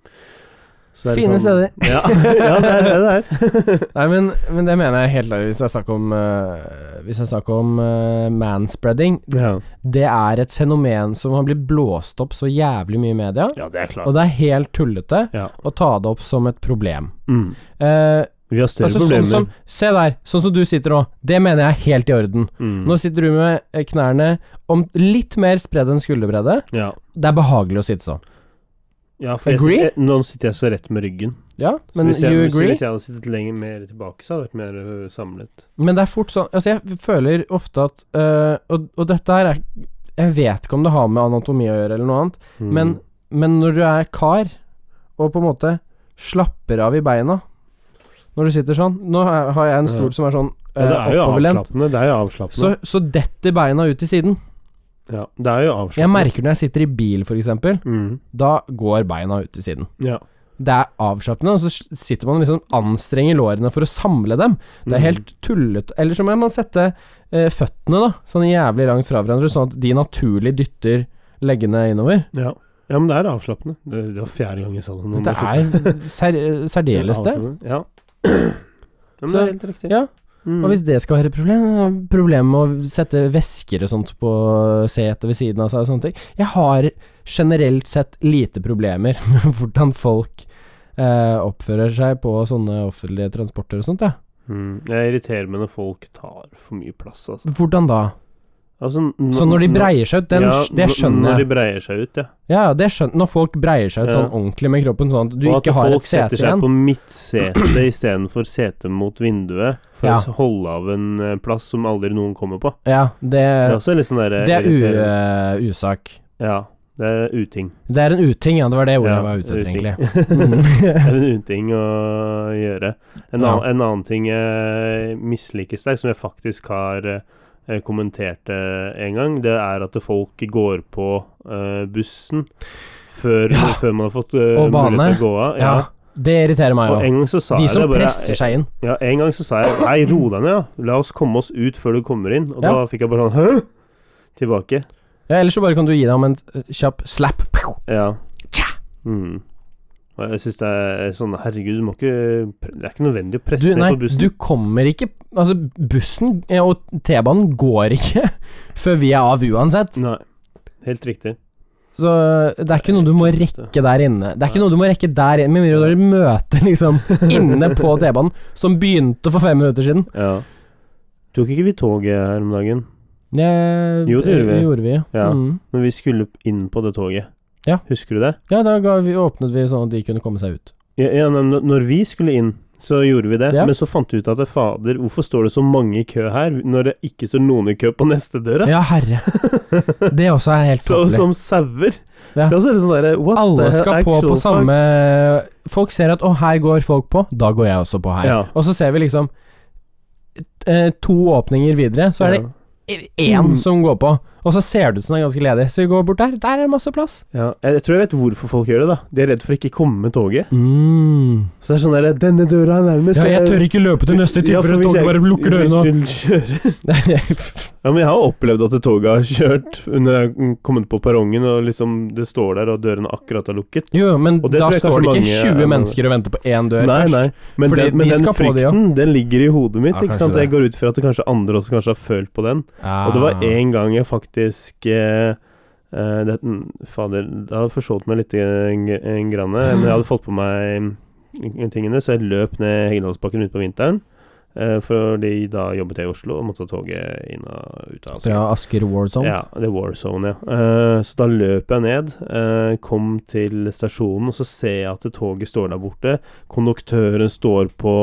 Så det er Fine litt steder. Ja, [LAUGHS] ja, det er det [LAUGHS] det er. Nei, men, men det mener jeg helt ærlig hvis jeg snakker om eh, Hvis jeg snakker om eh, manspreading. ja. Det er et fenomen som har blitt blåst opp så jævlig mye i media, ja, det og er klart. det er helt tullete Ja. å ta det opp som et problem. Mm. Eh, Vi har større altså sånn problemer. som Se der, sånn som du sitter nå. Det mener jeg er helt i orden. mm. Nå sitter du med eh, knærne om litt mer spredd enn skulderbredde. ja. Det er behagelig å sitte sånn. ja, for jeg, Agree? sitter- nå sitter jeg så rett med ryggen. Ja, Så men hvis jeg, you hvis, agree? Hvis jeg hadde sittet lenger mer tilbake, så hadde jeg vært mer ø, samlet. Men det er fort sånn Altså, jeg føler ofte at øh, og, og dette her er Jeg vet ikke om det har med anatomi å gjøre eller noe annet, Mm. men, men når du er kar, og på en måte slapper av i beina når du sitter sånn Nå har jeg- har jeg en Ja. stol som er sånn Ja, det er øh, jo oppoverlent. avslappende. Det er jo avslappende. Så, så detter beina ut til siden. ja, det er jo avslappende. Jeg merker når jeg sitter i bil, f.eks. mm. Da går beina ut til siden. ja. Det er avslappende, og så s- sitter man og liksom anstrenger lårene for å samle dem. Det Mm. er helt tullete. Eller så må man sette eh, føttene da sånn jævlig langt fra hverandre, sånn at de naturlig dytter leggene innover. ja. ja, men det er avslappende. Det, det var fjerde gang jeg sa det. nå må Det jeg slutte. er ser, særdeles det. Avslappende, Ja. [CLEARS THROAT] ja men Så- det er helt riktig. ja. Mm. Og hvis det skal være et problem, da er det problem med å sette væsker og sånt på setet ved siden av seg og sånne ting Jeg har generelt sett lite problemer [LAUGHS] med hvordan folk eh, oppfører seg på sånne offentlige transporter og sånt, ja. mm. Jeg irriterer meg når folk tar for mye plass, altså. Hvordan da? altså nå- Så når de nå- breier seg ut, den, Ja, det nå- skjønner Når jeg. de breier seg ut, ja. Ja, det skjønner Når folk breier seg ut Ja. sånn ordentlig med kroppen, sånn at du og at ikke har folk et sete setter seg igjen. på midtsetet istedenfor sete mot vinduet, for Ja. å holde av en eh, plass som aldri noen kommer på. Ja, det, Det er også litt sånn derre Eh, det er u, irriterende. eh, usak. Ja, det er uting. Det er en uting, ja. Det var det ordet Ja, jeg var ute etter, egentlig. uting. det er [LAUGHS] en uting å gjøre. En, Ja. annen, en annen ting jeg misliker sterkt, som jeg faktisk har eh, kommentert eh, en gang, det er at folk går på eh, bussen før, før man har fått eh, Og bane. mulighet til å gå av. Ja, det irriterer meg Og òg. en gang så sa De jeg som det bare presser seg inn. Ja, en gang så sa jeg Nei, ro deg ned, ja. La oss komme oss ut før du kommer inn. Og Ja. da fikk jeg bare sånn Hø? Tilbake. Ja, ellers så bare kan du gi dem en eh, kjapp slap. Pow! Ja. Tja! Mm. Og jeg syns det er sånn Herregud, du må ikke pre- Det er ikke nødvendig å presse Du, nei, på bussen. du kommer ikke Altså, bussen eh, og T-banen går ikke [LAUGHS] før vi er av uansett. Nei. Helt riktig. Så eh, det er ikke noe du må rekke der inne. Det er ikke noe du må rekke der inne, med mindre du har et møte [LAUGHS] liksom inne på T-banen, som begynte for fem minutter siden. Ja. Tok ikke vi toget her om dagen? Eh, Jo, det gjorde vi. Gjorde vi. Ja. Mm. Når vi skulle inn på det toget. Ja. Husker du det? ja da ga vi, åpnet vi sånn at de kunne komme seg ut. Ja, ja, nei, men når vi skulle inn, så gjorde vi det. Ja. Men så fant vi ut at fader, hvorfor står det så mange i kø her, når det ikke står noen i kø på neste døra? Ja, [LAUGHS] herre. Det også er helt Så, tåpelig. som sauer. Ja. Da ser det sånn derre What Alle the skal på actual på fuck? samme Folk ser at 'Å, her går folk på', da går jeg også på her. Ja. Og så ser vi liksom eh, to åpninger videre, så er det e, én Mm. som går på. Og så ser det ut som det er ganske ledig, så vi går bort der. Der er det masse plass. ja. Jeg, jeg tror jeg vet hvorfor folk gjør det, da. De er redd for å ikke komme med toget. Mm. Så det er sånn derre Denne døra er nærmest. Ja, jeg tør ikke løpe til neste Ja, time, for hvis toget jeg- bare lukker [LAUGHS] dørene. Vil kjøre. [LAUGHS] og- Ja, men jeg har opplevd at det toget har kjørt når jeg har kommet på perrongen, og liksom det står der, og dørene akkurat er lukket. Jo, jo, men Og det da tror jeg står det kanskje ikke mange- eh, 20 mennesker og venter på én dør Nei, først. nei. Men Fordi den, men de den skal få det, ja. frykten, den ligger i hodet mitt. Ja, ikke sant? kanskje det. Jeg går ut fra at det kanskje andre også kanskje har følt på den. Ah. Og det var én gang jeg faktisk eh, eh, det, mm, Fader, det hadde forsovet meg litt en, en eh, grann, men jeg hadde fått på meg mm, tingene, så jeg løp ned Heggendalsbakken ute på vinteren. Eh, fordi da jobbet jeg i Oslo og måtte ta toget inn og ut av Asker. Fra Asker War Zone. Ja, det er War Zone, ja. Eh, så da løp jeg ned, eh, kom til stasjonen, og så ser jeg at toget står der borte. Konduktøren står på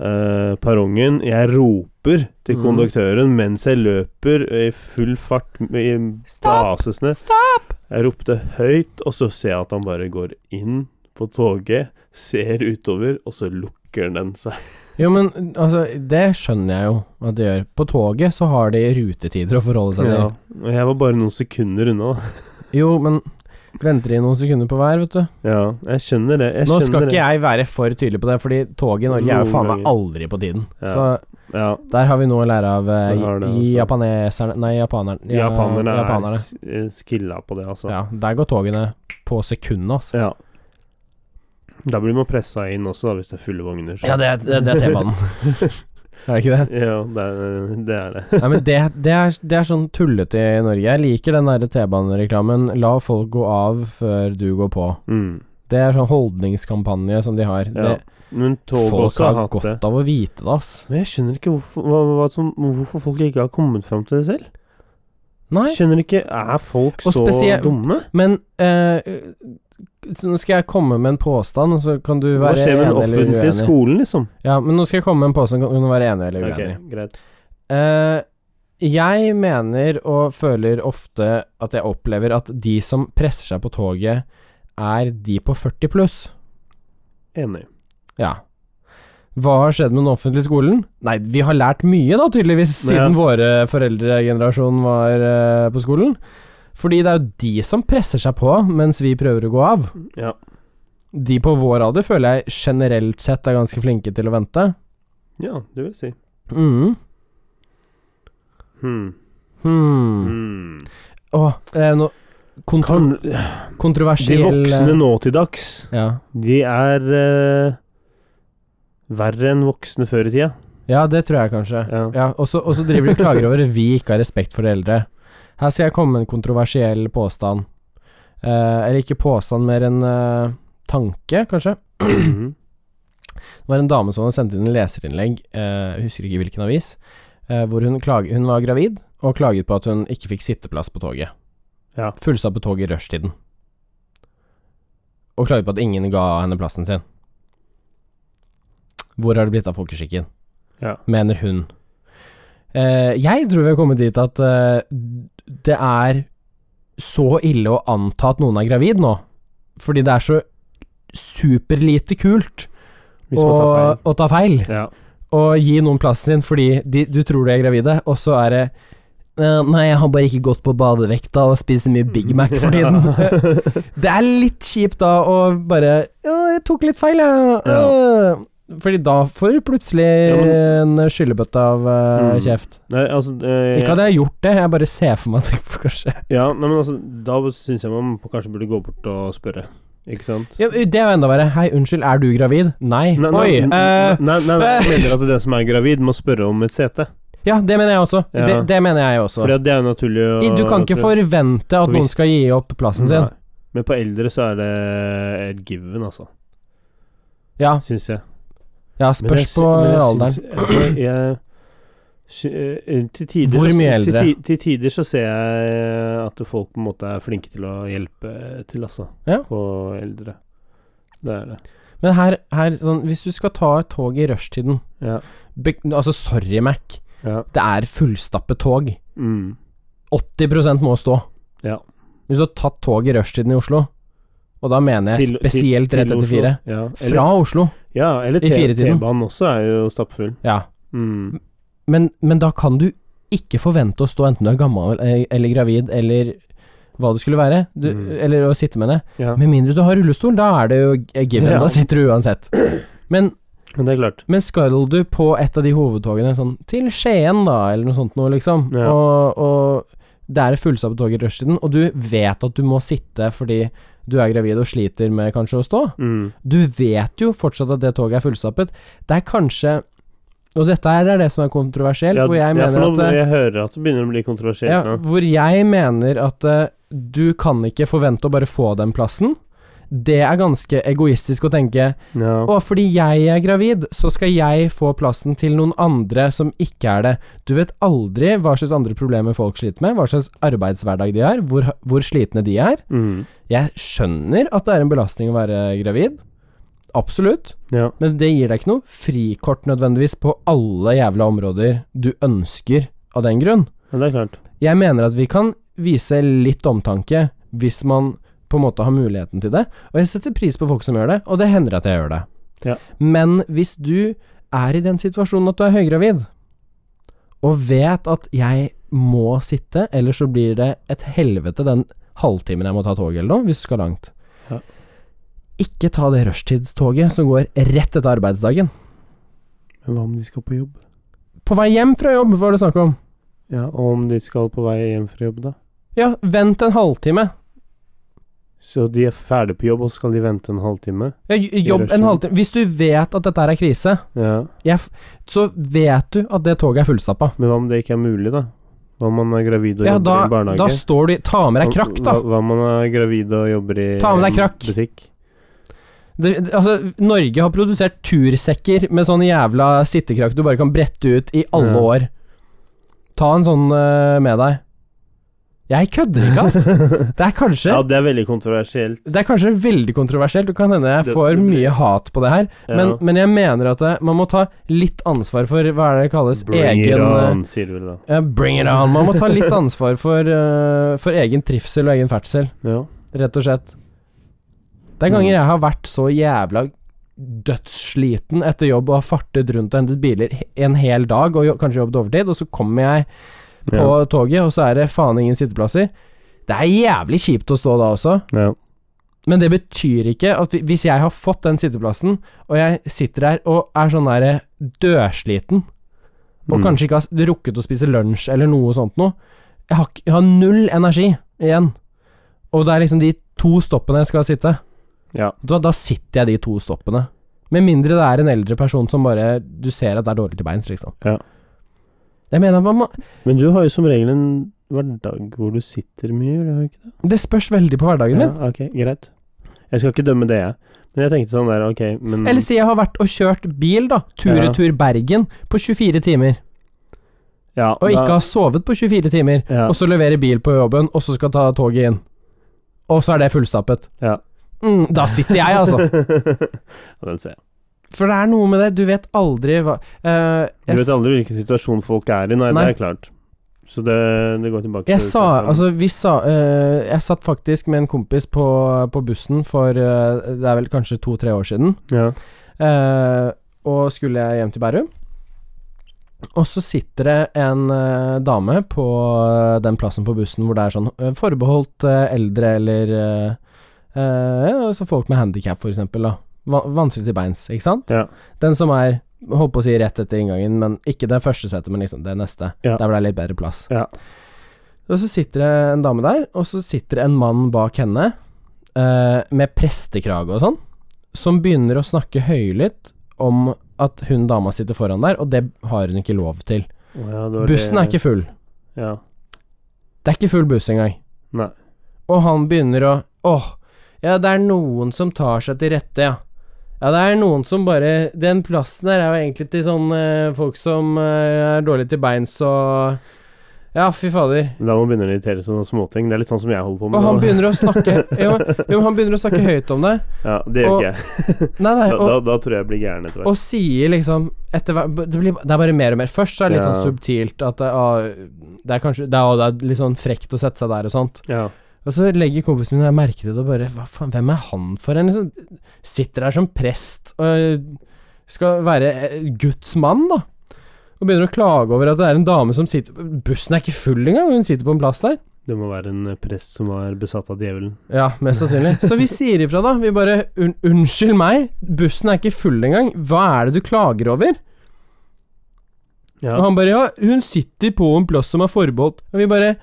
eh, perrongen. Jeg roper til Mm. konduktøren mens jeg løper eh, i full fart m- i Stopp! basisene. Stopp! Jeg ropte høyt, og så ser jeg at han bare går inn på toget, ser utover, og så lukker den seg. Jo, men altså, det skjønner jeg jo at de gjør. På toget så har de rutetider å forholde seg til. Ja. Og jeg var bare noen sekunder unna, da. Jo, men venter de noen sekunder på hver, vet du. Ja, jeg skjønner det. Jeg Nå skjønner skal det. ikke jeg være for tydelig på det, fordi toget i Norge er jo Noen faen meg ganger. aldri på tiden. Ja. Så Ja. der har vi noe å lære av eh, Vi har det i- også. japaneserne Nei, japanerne. Ja, Japanerne er japanerne. s- eh, skilla på det, altså. Ja. Ja, der går togene på sekundet, altså. Da blir man pressa inn også, da, hvis det er fulle vogner. så- Ja, det, er- det, det er [LAUGHS] T-banen. er det ikke det? Ja, det er det. Er [LAUGHS] det. [LAUGHS] Nei, men det, det, er, det er sånn tullete i Norge. Jeg liker den der T-banereklamen. La folk gå av før du går på. Mm. Det er sånn holdningskampanje som de har. Ja. Det, Men toget folk også har har hatt godt det. av å vite det, ass. Men jeg skjønner ikke hvorfor, hva, hva som, hvorfor folk ikke har kommet fram til det selv. Nei, Skjønner ikke Er folk Og så spesielt- dumme? men eh, så Nå skal jeg komme med en påstand, og så kan du Hva være skjer enig med den eller offentlige uenig. skolen, liksom? Ja, men nå skal jeg komme med en påstand, kan du være enig eller uenig. Ok, greit. Eh, jeg mener og føler ofte at jeg opplever at de som presser seg på toget, er de på 40 pluss. Enig. Ja. Hva har skjedd med den offentlige skolen? Nei, vi har lært mye da, tydeligvis, siden Ja. våre foreldregenerasjon var eh, på skolen. Fordi det er jo de som presser seg på mens vi prøver å gå av. Ja. De på vår alder føler jeg generelt sett er ganske flinke til å vente. Ja, det vil si. Mm. Hmm. Hmm. Hmm. Åh, eh, nå- kontro Kan, de kontroversiell voksne nå til dags eh, ja. De er eh, verre enn voksne før i tida. ja, det tror jeg kanskje. Ja. Ja, og så og så driver de og klager over at vi ikke har respekt for eldre. Her skal jeg komme med en kontroversiell påstand. Eh, eller ikke påstand, mer en eh, tanke, kanskje. [CLEARS THROAT] Mhm. Det var en dame som hadde sendt inn en leserinnlegg, eh, jeg husker ikke hvilken avis, eh, hvor hun, klag, hun var gravid og klaget på at hun ikke fikk sitteplass på toget. Ja. Fullsatt på toget i rushtiden. Og klaget på at ingen ga henne plassen sin. Hvor har det blitt av folkeskikken? Ja. Mener hun. Eh, jeg tror vi har kommet dit at eh, det er så ille å anta at noen er gravid nå, fordi det er så superlite kult Hvis man tar feil. og, og ta feil. Ja. Og gi noen plassen sin fordi de, du tror de er gravide, og så er det «Eh, Nei, jeg har bare ikke gått på badevekta og spist mye Big Mac for tiden. [LAUGHS] [LAUGHS] det er litt kjipt da å bare Ja, jeg tok litt feil, jeg. Ja. Øh. Fordi da får du plutselig Ja, en skyllebøtte av eh, Mm. kjeft. Nei, altså eh, Ikke at jeg har gjort det, jeg bare ser for meg at jeg kanskje Ja, nei, men altså Da syns jeg man kanskje burde gå bort og spørre. Ikke sant? ja, Det er jo enda verre. Hei, unnskyld, er du gravid? Nei. Nei, nei, Oi. nei, eh, nei, nei, nei, jeg eh. mener at den som er gravid, må spørre om et sete. ja, det mener jeg også. Ja. Det, det mener jeg også. For det er jo naturlig å I- Du kan ikke forvente at Og noen hvis- skal gi opp plassen sin. Nei. Men på eldre så er det et given, altså. Ja, Syns jeg. ja Men jeg spørs sy- på men jeg alderen. syns- Jeg, jeg, sy- eh, til tider, Hvor mye så- eldre? Til, ti- til tider så ser jeg at folk på en måte er flinke til å hjelpe til, altså. Ja. På eldre. Det er det. Men her, her sånn, hvis du skal ta et tog i rushtiden Ja. be, Altså, sorry, Mac. Ja. Det er fullstappet tog. Mm. 80 må stå. ja. Hvis du har tatt tog i rushtiden i Oslo, og da mener jeg Til- til- spesielt til rett etter Oslo. fire Ja. Eller, Fra Oslo, ja, eller i T- firetiden. T-banen også er jo stappfull. ja. Mm. Men, men da kan du ikke forvente å stå enten du er gammel eh, eller gravid eller hva det skulle være, du, Mm. eller å sitte med det. Ja. Med mindre du har rullestol, da er det jo g- given. Ja. Da sitter du uansett. Men Men det er klart. Men skal du på et av de hovedtogene, sånn til Skien da, eller noe sånt noe, liksom, Ja. og, og det er et fullsatt tog i rushtiden, og du vet at du må sitte fordi du er gravid og sliter med kanskje å stå, Mm. du vet jo fortsatt at det toget er fullstappet, det er kanskje Og dette her er det som er kontroversielt, Ja, hvor jeg ja, for mener nå- at eh, Jeg hører at det begynner å bli kontroversielt ja, nå. Hvor jeg mener at eh, du kan ikke forvente å bare få den plassen. det er ganske egoistisk å tenke Ja. Å, fordi jeg er gravid, så skal jeg få plassen til noen andre som ikke er det. Du vet aldri hva slags andre problemer folk sliter med, hva slags arbeidshverdag de har, hvor, hvor slitne de er. Mm. Jeg skjønner at det er en belastning å være gravid. Absolutt. ja. Men det gir deg ikke noe frikort nødvendigvis på alle jævla områder du ønsker av den grunn. ja, det er klart. Jeg mener at vi kan vise litt omtanke hvis man på en måte har muligheten til det. Og jeg setter pris på folk som gjør det, og det hender at jeg gjør det. Ja. Men hvis du er i den situasjonen at du er høygravid, og vet at jeg må sitte, ellers så blir det et helvete den halvtimen jeg må ta toget eller noe, hvis du skal langt. Ja. Ikke ta det rushtidstoget som går rett etter arbeidsdagen. Men hva om de skal på jobb? På vei hjem fra jobb, hva var det snakk om? Ja, og om de skal på vei hjem fra jobb, da? Ja, vent en halvtime. Så de er ferdig på jobb, og så skal de vente en halvtime? Ja, j- jobb en rushtiden. halvtime Hvis du vet at dette her er krise, Ja. jeg, f- så vet du at det toget er fullstappa. Men hva om det ikke er mulig, da? Hva om man er gravid og Ja, jobber da, i barnehage? da står du i- Ta med deg krakk, da. Hva, hva om man er gravid og jobber i Ta med deg en krakk. butikk? Det, det- altså, Norge har produsert tursekker med sånn jævla sittekrakk du bare kan brette ut i alle Ja. år. Ta en sånn eh, med deg. Jeg kødder ikke, [LAUGHS] ass. Det er kanskje Ja, det er veldig kontroversielt. Det er kanskje veldig kontroversielt, og kan hende jeg Det- får det blir- mye hat på det her, Ja. men, men jeg mener at eh, man må ta litt ansvar for hva er det det kalles Bring it egen eh, on, sier du vel da. Ja, bring it on. Man må ta litt ansvar for, eh, for egen trivsel og egen ferdsel, Ja. rett og slett. Det er ganger jeg har vært så jævla dødssliten etter jobb og har fartet rundt og hentet biler he- en hel dag og jo, kanskje jobbet overtid, og så kommer jeg på Ja. toget, og så er det faen ingen sitteplasser. Det er jævlig kjipt å stå da også, ja. men det betyr ikke at vi- hvis jeg har fått den sitteplassen, og jeg sitter der og er sånn der eh, dødsliten, og Mm. kanskje ikke har s- rukket å spise lunsj eller noe sånt noe. Jeg har, ikke- jeg har null energi igjen. Og det er liksom de to stoppene jeg skal sitte. Ja. Da, da sitter jeg de to stoppene. Med mindre det er en eldre person som bare Du ser at det er dårlig til beins, liksom. Ja. Jeg mener man må Men du har jo som regel en hverdag hvor du sitter mye, gjør du ikke det? Det spørs veldig på hverdagen Ja, min. ok, greit. Jeg skal ikke dømme det, jeg. Men jeg tenkte sånn der, ok, men Eller si jeg har vært og kjørt bil, da. Tur-retur Bergen på 24 timer. ja, Og ikke har sovet på 24 timer. ja, Og så levere bil på jobben, og så skal ta toget inn. Og så er det fullstappet. Ja. Mm, da sitter jeg, [LAUGHS] altså. Ja, Den ser jeg. For det er noe med det, du vet aldri hva eh, jeg, Du vet aldri hvilken situasjon folk er i, nei, Nei. det er klart. Så det, det går tilbake jeg sa, altså vi sa eh, Jeg satt faktisk med en kompis på, på bussen for eh, Det er vel kanskje to-tre år siden. Ja. eh, og skulle jeg hjem til Bærum. Og så sitter det en eh, dame på eh, den plassen på bussen hvor det er sånn eh, forbeholdt eh, eldre eller eh, eh, ja, altså folk med handikap, for eksempel. Da. Va vanskelig til beins, ikke sant? Ja. Den som er Holdt på å si rett etter inngangen, men ikke det første setet, men liksom det neste. Ja. Der hvor det er litt bedre plass. Ja. Og så sitter det en dame der, og så sitter det en mann bak henne eh, med prestekrage og sånn, som begynner å snakke høylytt om at hun dama sitter foran der, og det har hun ikke lov til. Å, ja, det var det- Bussen er ikke full. Ja. Det er ikke full buss engang. Nei. Og han begynner å Åh, ja, det er noen som tar seg til rette, ja. Ja, det er noen som bare Den plassen der er jo egentlig til sånne eh, folk som eh, er dårlige til beins og Ja, fy fader. Da må man begynne å irritere seg sånne småting. Det er litt sånn som jeg holder på med. Og han nå. begynner å snakke Jo, jo men han begynner å snakke høyt om det. Ja, det gjør og- ikke jeg. Nei, nei, Da, og, da, da tror jeg jeg blir gæren etter hvert. og sier liksom etter hver, det, blir, det er bare mer og mer. Først så er det litt Ja. sånn subtilt at det, å, det er kanskje det er, å, det er litt sånn frekt å sette seg der og sånt. Ja. Og så legger kompisen min merke til det og bare Hva faen, hvem er han for en, liksom? Sitter der som prest og skal være eh, Guds mann, da. Og begynner å klage over at det er en dame som sitter Bussen er ikke full engang, hun sitter på en plass der. Det må være en eh, prest som var besatt av djevelen. Ja, mest sannsynlig. Så vi sier ifra, da. Vi bare un Unnskyld meg, bussen er ikke full engang. Hva er det du klager over? Ja. Og han bare Ja, hun sitter på en plass som er forbeholdt. Og vi bare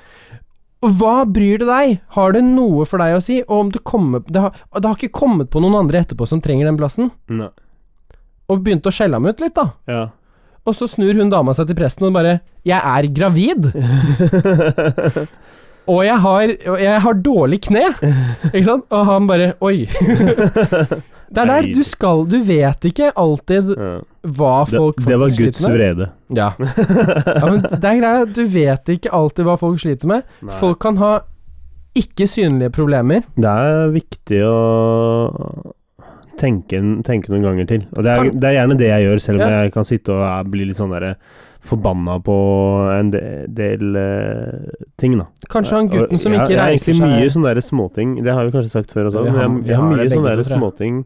Hva bryr det deg? Har det noe for deg å si? Og om du kommer Det har, det har ikke kommet på noen andre etterpå som trenger den plassen. Nei. Og begynte å skjelle ham ut litt, da. Ja. Og [LAUGHS] så snur hun dama seg til presten og bare Jeg er gravid! Og jeg har, og jeg har dårlig kne, ikke sant? Og han bare Oi. [LAUGHS] Det er der du skal Du vet ikke alltid Ja. hva Det, folk det var faktisk Guds sliter med. vrede. Ja. [LAUGHS] ja, men det er greia. Du vet ikke alltid hva folk sliter med. Nei. Folk kan ha ikke synlige problemer. Det er viktig å tenke, tenke noen ganger til. Og det er, Kan- det er gjerne det jeg gjør, selv om Ja. jeg kan sitte og er- bli litt sånn derre forbanna på en de- del eh, ting, da. Kanskje han gutten som Og ikke jeg, jeg reiser har seg egentlig mye sånne der småting, det har vi kanskje sagt før også, Vi men har- jeg, vi jeg har har mye det begge sånne der to, tror småting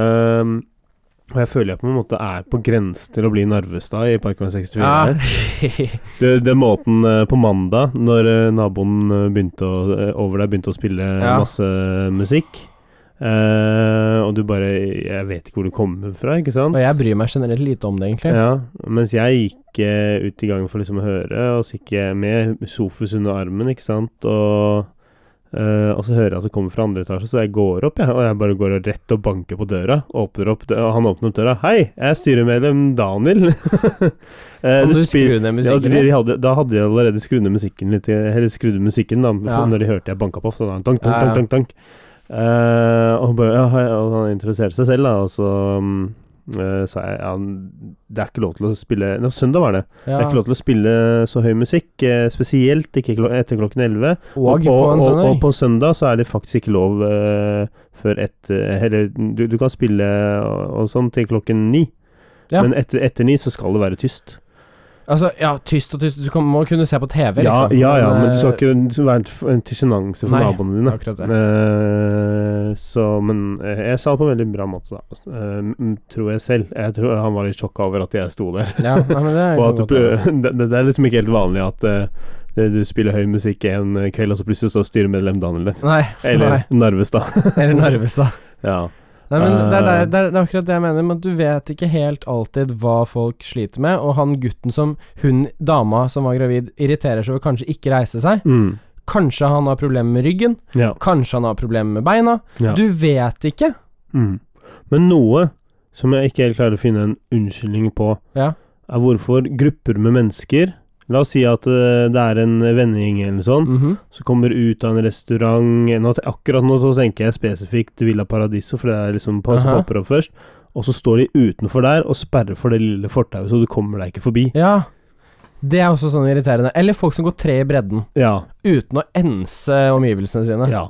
ehm, og jeg føler jeg på en måte er på grense til å bli Narvestad i Parkveien 64. her. Ja. Det, det er måten eh, på mandag, når eh, naboen eh, begynte å, eh, over deg begynte å spille eh, Ja. masse musikk, eh, og du bare Jeg vet ikke hvor du kommer fra, ikke sant? Og jeg bryr meg generelt lite om det, egentlig. Ja, mens jeg gikk eh, ut i gangen for liksom å høre, og så gikk jeg med Sofus under armen, ikke sant, og eh, og så hører jeg at det kommer fra andre etasje, så jeg går opp, jeg, og jeg bare går rett og banker på døra. Åpner opp, dø- og han åpner opp døra. 'Hei, jeg er styremedlem Daniel.' [LAUGHS] Eh, Kan du du spil- skru ned ja, de, musikken? de litt? hadde, da hadde de allerede skrudd ned musikken litt, eller skrudd ned musikken da, for Ja. når de hørte jeg banka på. Så da, tank, tank, Ja, ja. tank, tank, tank. Eh, og, bare, ja, hei, og han introduserte seg selv, da, og så mm, eh, sa jeg ja, det er ikke lov til å spille Nå, Søndag var det. Det er ikke Ja. lov til å spille så høy musikk, eh, spesielt ikke klo etter klokken 11. Og på, på en sånn, og, og søndag. på søndag så er det faktisk ikke lov eh, før etter Eller du, du kan spille og, og sånn til klokken ni, Ja. men etter, etter ni så skal det være tyst. Altså, ja, tyst og tyst. Du kan, må kunne se på TV, Ja, liksom. ja, ja, men du eh, skal ikke du skal være til- en til sjenanse for Nei, naboene dine. Akkurat det. Eh, så, men eh, jeg sa det på en veldig bra måte, da. Eh, m- tror jeg selv. Jeg tror han var litt sjokka over at jeg sto der. Ja, nei, men det er Og jo at godt. du- [LAUGHS] det, det er liksom ikke helt vanlig at eh, det- du spiller høy musikk en eh, kveld, og så plutselig står styremedlem Daniel der. Nei, nei. Eller Narvestad. [LAUGHS] Eller Narvestad. ja. Nei, men det er, Eh. det, er, det er akkurat det jeg mener, men du vet ikke helt alltid hva folk sliter med, og han gutten som hun dama som var gravid, irriterer seg over kanskje ikke reise seg. Mm. Kanskje han har problemer med ryggen, ja. kanskje han har problemer med beina. ja. Du vet ikke. Mm. Men noe som jeg ikke helt klarer å finne en unnskyldning på, Ja. er hvorfor grupper med mennesker La oss si at eh, det er en vennegjeng eller sånn, Mhm. som kommer ut av en restaurant nå, te- Akkurat nå så tenker jeg spesifikt Villa Paradiso, for det er liksom på, som Aha. popper opp først. Og så står de utenfor der og sperrer for det lille fortauet, så du kommer deg ikke forbi. ja. Det er også sånn irriterende. Eller folk som går tre i bredden Ja. uten å ense omgivelsene sine. ja.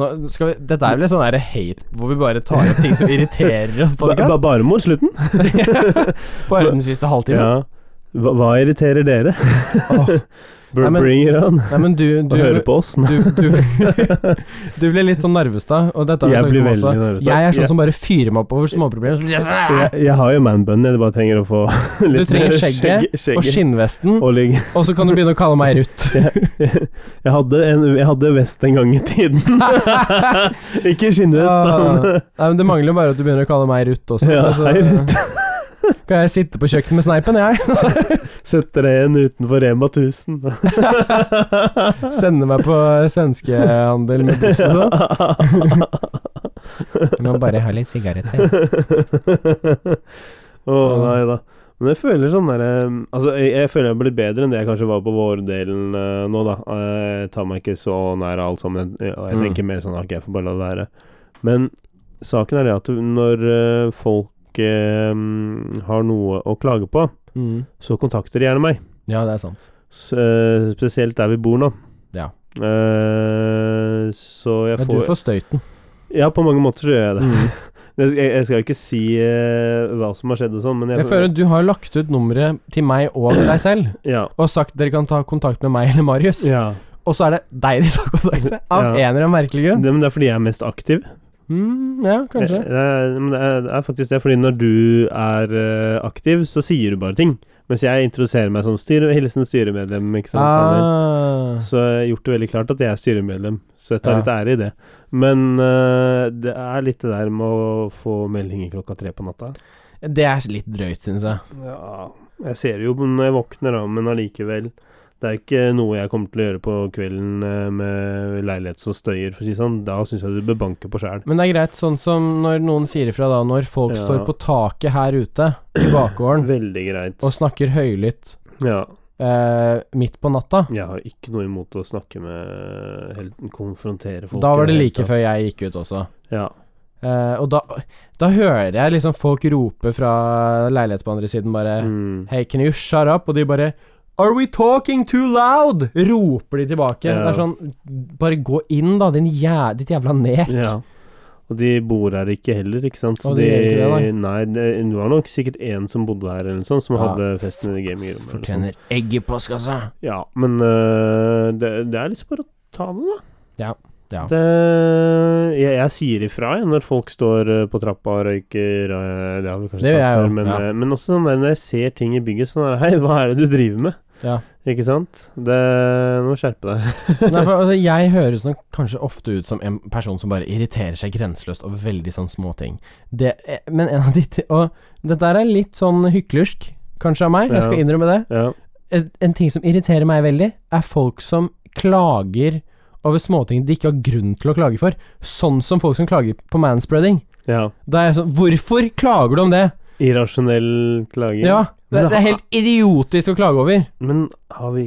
Nå skal vi, dette er vel en sånn der hate hvor vi bare tar opp ting som irriterer oss på Ba, ba, bare mot slutten. [LAUGHS] Bare den siste halvtimen. Ja. Hva, hva irriterer dere? Åh. Br Nei, men- bring it on. Nei, men du, Og du høre på oss. [LAUGHS] Nei. du, du, du ble litt sånn Narvestad, og dette har vi Jeg snakket blir om også. veldig nervøs. Jeg er sånn Jeg- som bare fyrer meg opp over småproblemer. Så blir jeg sånn, Jeg, jeg har jo manbun, jeg bare trenger å få [LAUGHS] litt trenger mer skjegget og skjegg- skinnvesten, [LAUGHS] og ligge og så kan du begynne å kalle meg Ruth. [LAUGHS] jeg, jeg, hadde en, jeg hadde vest en gang i tiden. [LAUGHS] ikke skinnvest, Ah, Nei, men Det mangler bare at du begynner å kalle meg Ruth også. Ja, vet du, så- hei, [LAUGHS] Kan jeg sitte på kjøkkenet med sneipen, jeg? men setter deg igjen utenfor Rema [LAUGHS] 1000. Sende meg på svenskehandel med buss og sånn. [LAUGHS] Jeg må bare ha litt sigaretter. [LAUGHS] Å nei da. Men jeg føler sånn derre Altså, jeg, jeg føler jeg blir bedre enn det jeg kanskje var på vårdelen eh, nå, da. Eh, Jeg tar meg ikke så nær alt sammen. Jeg, og jeg Mm. tenker mer sånn Ok, jeg får bare la det være. Men saken er det at når eh, folk eh, har noe å klage på, Mm. så kontakter de gjerne meg. Ja, det er sant. S eh, spesielt der vi bor nå. Ja. Eh, så jeg Men får du får støyten. Ja, på mange måter så gjør jeg det. Mm. Jeg, jeg jeg skal ikke si eh, hva som har skjedd og sånn, men jeg, Jeg føler du har lagt ut nummeret til meg og deg selv, ja. og sagt dere kan ta kontakt med meg eller Marius. ja. Og så er det deg de tar kontakt med, av Ja. en eller annen merkelig grunn. Det, men det er fordi jeg er mest aktiv. Mm, ja, kanskje. Det, det, er, men det, er, det er faktisk det, fordi når du er eh, aktiv, så sier du bare ting. Mens jeg introduserer meg som styre, hilsen styremedlem, ikke sant. Daniel? Ah, Så jeg har gjort det veldig klart at jeg er styremedlem, så jeg tar Ja. litt ære i det. Men eh, det er litt det der med å få meldinger klokka tre på natta. det er litt drøyt, syns jeg. Ja, jeg ser det jo når jeg våkner, da, men allikevel. Det er ikke noe jeg kommer til å gjøre på kvelden eh, med leilighet som støyer, for å si det sånn. Da syns jeg du bør banke på sjæl. Men det er greit, sånn som når noen sier ifra da, når folk Ja. står på taket her ute i bakgården Veldig greit. og snakker høylytt. Ja. eh, midt på natta. Jeg har ikke noe imot å snakke med Eller konfrontere folk. Da var det i like hele tatt. før jeg gikk ut også. Ja. Eh, og da, da hører jeg liksom folk rope fra leilighet på andre siden bare Mm. Hey, can you shut up? Og de bare Are we talking too loud? Roper de tilbake. Ja. Det er sånn Bare gå inn, da, din jæ ditt jævla nek. ja. Og de bor her ikke heller, ikke sant? Og de gjør ikke det, nei. nei, det, det var nok sikkert én som bodde her, eller noe sånt, som Ja. hadde festen i gamingrommet. eller sånt. Fortjener egg i postkassa. Ja, men øh, det, det er liksom bare å ta det, da. Ja. Ja. Det, jeg, jeg sier ifra jeg, når folk står øh, på trappa og røyker. øh, Det har vi kanskje Det gjør jeg snakket jo, om, men, ja. øh, men også sånn der når jeg ser ting i bygget, sånn der [LAUGHS] Hei, hva er det du driver med? Ja. Ikke sant? Det, du må skjerpe deg. [LAUGHS] Nei, for, altså, jeg høres nok kanskje ofte ut som en person som bare irriterer seg grenseløst over veldig sånn småting. eh, Men en av de ti- Og dette er litt sånn hyklersk, kanskje av meg, jeg skal Ja. innrømme det. Ja. En, en ting som irriterer meg veldig, er folk som klager over småting de ikke har grunn til å klage for. Sånn som folk som klager på manspreading. ja. Da er jeg sånn Hvorfor klager du om det? Irrasjonell klaging. Ja, det, det er helt idiotisk å klage over. Men har vi,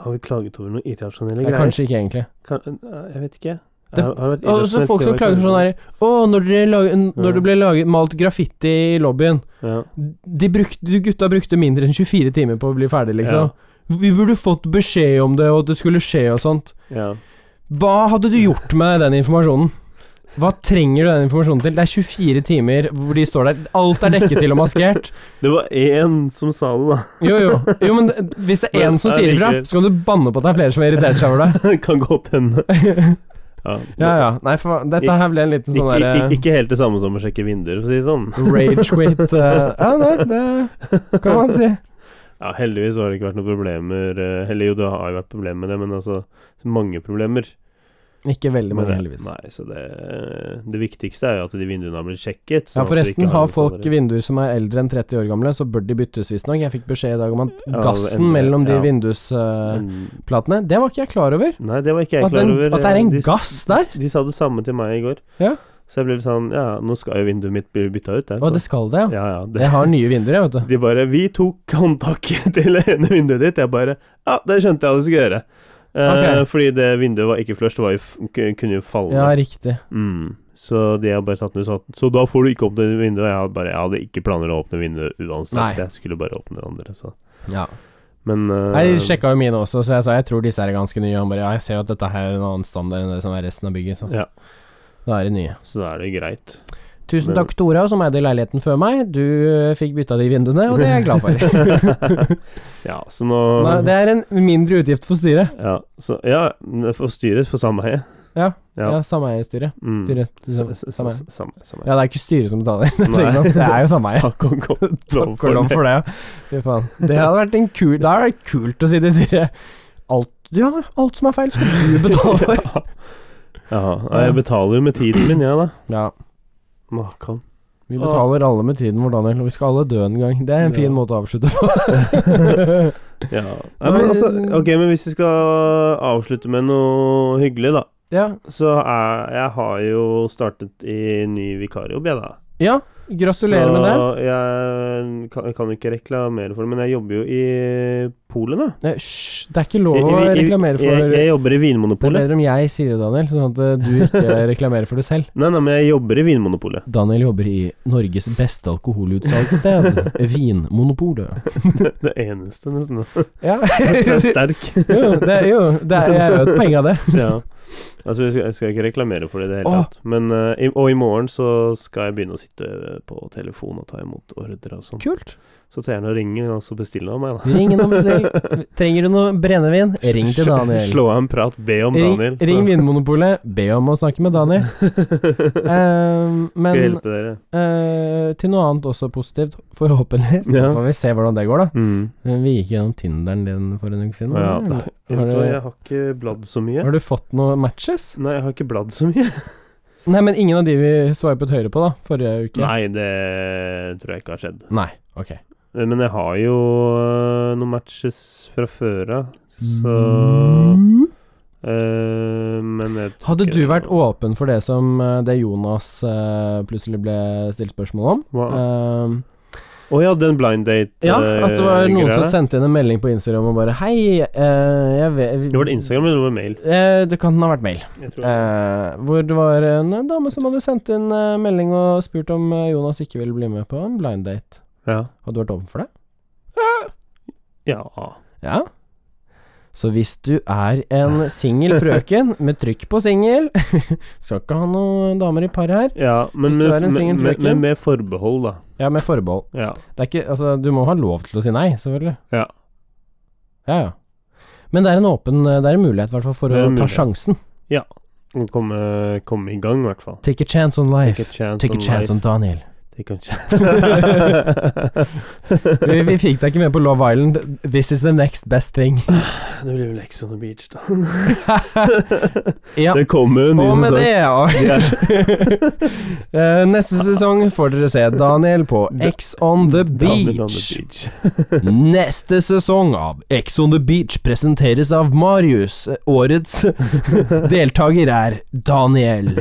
har vi klaget over noen irrasjonelle Ja, greier? kanskje ikke, egentlig. Kan, eh, jeg vet ikke. Det- Har- har vært Og så irrasjonelt, folk det som har klager vært sånn her Å, når, dere lager, når det ble laget, malt graffiti i lobbyen ja. de, brukte, de gutta brukte mindre enn 24 timer på å bli ferdig, liksom. Vi burde fått beskjed om det, og at det skulle skje og sånt. ja. Hva hadde du gjort med den informasjonen? Hva trenger du den informasjonen til? Det er 24 timer hvor de står der. Alt er dekket til og maskert. Det var én som sa det, da. Jo, jo. jo men det- hvis det er én som sier ifra, så kan du banne på at det er flere som har irritert seg [LAUGHS] over det. Det kan godt [LAUGHS] hende. Ja. Ja, ja. Nei, for faen, dette her ble en liten sånn ikke, ikke, derre ikke helt det samme som å sjekke vinduer, for å si det sånn. rage quit. eh, Ja, nei, det kan man si. Ja, heldigvis har det ikke vært noen problemer eh, Eller jo, det har jo vært problemer med det, men altså mange problemer. Ikke veldig med mange, det. heldigvis. Nei, så det, det viktigste er jo at de vinduene har blitt sjekket. sånn Ja, at vi ikke Forresten, har noen folk farer. vinduer som er eldre enn 30 år gamle, så bør de byttes, visstnok. Jeg fikk beskjed i dag om at Ja, gassen endelig, mellom de ja. vindusplatene, Men- det var ikke jeg klar over. Nei, det var ikke jeg At, klar den, over. eh, at det er en De- gass der? De sa det samme til meg i går. Ja. Så jeg ble litt sånn Ja, nå skal jo vinduet mitt bli bytta ut. jeg, Å, så- det skal det, ja. ja, ja, det. Jeg har nye vinduer, jeg, vet du. De bare 'Vi tok håndtaket [LAUGHS] til det ene vinduet ditt.' Jeg bare 'Ja, det skjønte jeg hva du skulle gjøre'. Eh, Ok. Fordi det vinduet var ikke flush, det var jo, f- k- kunne [LAUGHS] jo falle. Ja, ned. riktig. Mm. Så de har bare tatt den ut sånn. Så da får du ikke åpne vinduet. Jeg, har bare, jeg hadde ikke planer å åpne vinduet uansett. Nei. Jeg skulle bare åpne det andre, så. Ja. Men eh, Jeg sjekka jo mine også, så jeg sa jeg tror disse er ganske nye. Han bare ja, jeg ser jo at dette her er en annen standard enn det som er resten av bygget, så Ja. da er det nye. Så da er [LAUGHS] det greit. Tusen Men- takk, Tora, som eide leiligheten før meg. Du eh, fikk bytta de vinduene, og det er jeg [LAUGHS] glad for. ja, så [LAUGHS] nå Nei, det er en mindre utgift for styret. ja, så, ja, for styret, for sameiet. Ja. Ja. Ja, sameiestyret. Mm. Styret. S- s- s- Sameie. sameie, sameie. Ja, det er ikke styret som betaler. [LAUGHS] Det, Nei. trenger man. det er jo [LAUGHS] sameie. Takk og godt [LAUGHS] lov Takk og lov det. for det. ja. Fy faen. Det hadde vært en kul Da er det kult å si til styret alt, ja, alt som er feil, skal du betale [LAUGHS] for. Ja, nei, jeg betaler jo med tiden min, jeg, da. Ja, Makan. vi betaler alle med tiden vår, Daniel, og vi skal alle dø en gang. Det er en Ja. fin måte å avslutte på. Ja. Nei, men altså, ok, men hvis vi skal avslutte med noe hyggelig, da. ja. Så er, jeg har jo startet i ny vikarjobb, jeg, da. ja, gratulerer med det. Så jeg kan, jeg kan jo ikke reklamere for det, men jeg jobber jo i Polen, da. Nei, Eh, Hysj, det er ikke lov I- å i- i- reklamere Jeg, for jeg jobber i Det er Vinmonopolet. bedre om jeg sier det, Daniel, sånn at eh, du ikke [LAUGHS] reklamerer for det selv. Nei, nei, men jeg jobber i Vinmonopolet. [LAUGHS] Daniel jobber i Norges beste alkoholutsalgssted, [LAUGHS] Vinmonopolet. Det eneste, [LAUGHS] nesten. da. Ja. Det er sterk. jo, det, er- jo, det er, jeg er jo et poeng av det. Ja. Altså, jeg skal, jeg skal ikke reklamere for det i det hele Åh. tatt. Men, eh, i, og i morgen så skal jeg begynne å sitte eh, på telefon og ta imot ordre og sånn. Kult. Så ta gjerne og ring og så bestille av meg, da. Ring innom selv. [LAUGHS] Trenger du noe brennevin? Ring til Daniel. Slå av en prat, be om Ring, Daniel. så ring Vinmonopolet, be om å snakke med [LAUGHS] Daniel. Ehm, skal jeg men hjelpe dere. eh, til noe annet også positivt, forhåpentligvis. Ja. Så får vi se hvordan det går, da. Mm. Men vi gikk gjennom Tinderen din for en uke siden. Ja, eller? da, jeg, har vet, du hva, du- jeg har ikke bladd så mye. Har du fått noen matches? Nei, jeg har ikke bladd så mye. Nei, men ingen av de vi swipet høyre på, da, forrige uke? Nei, det tror jeg ikke har skjedd. Nei. Ok. Men jeg har jo øh, noen matches fra før av, så Mm. øh, Men jeg tror Hadde ikke du det vært var- åpen for det som eh, det Jonas eh, plutselig ble stilt spørsmål om? Hva? Eh, Å ja, den blind date Ja, at det var eh, noen som greia. sendte inn en melding på Instagram og bare Hei, eh, jeg vet Det var det Instagram eller det var mail? Eh, det kan ha vært mail. Jeg tror. Eh, hvor det var en dame som hadde sendt inn eh, melding og spurt om eh, Jonas ikke ville bli med på en blind date. ja. Hadde du vært åpen for det? ja. Ja. Så hvis du er en singel [LAUGHS] frøken med trykk på singel [LAUGHS] Skal ikke ha noen damer i par her. Ja, men Hvis du med, er en singel med, med, frøken. med, med forbehold, da. Ja, med forbehold. Ja. Det er ikke, altså, du må ha lov til å si nei, selvfølgelig. Ja. Ja, ja. Men det er en åpen eh, Det er en mulighet, i hvert fall, for Det å er en ta mulighet. sjansen. Komme, komme i gang, i hvert fall. Take a chance on Take a life. chance Take a chance life. on Daniel. Take a chance. [LAUGHS] Vi, [LAUGHS] vi fikk deg ikke med på Love Island. This is the next best thing. det blir vel Ex on the beach, da. Ja. [LAUGHS] Det kommer en ny Og med sesong. det, ja. [LAUGHS] [LAUGHS] Eh, Neste sesong får dere se Daniel på X [LAUGHS] on the Daniel on the Beach. beach. [LAUGHS] Neste sesong av X on the Beach presenteres av Marius. [LAUGHS] Årets deltaker er Daniel.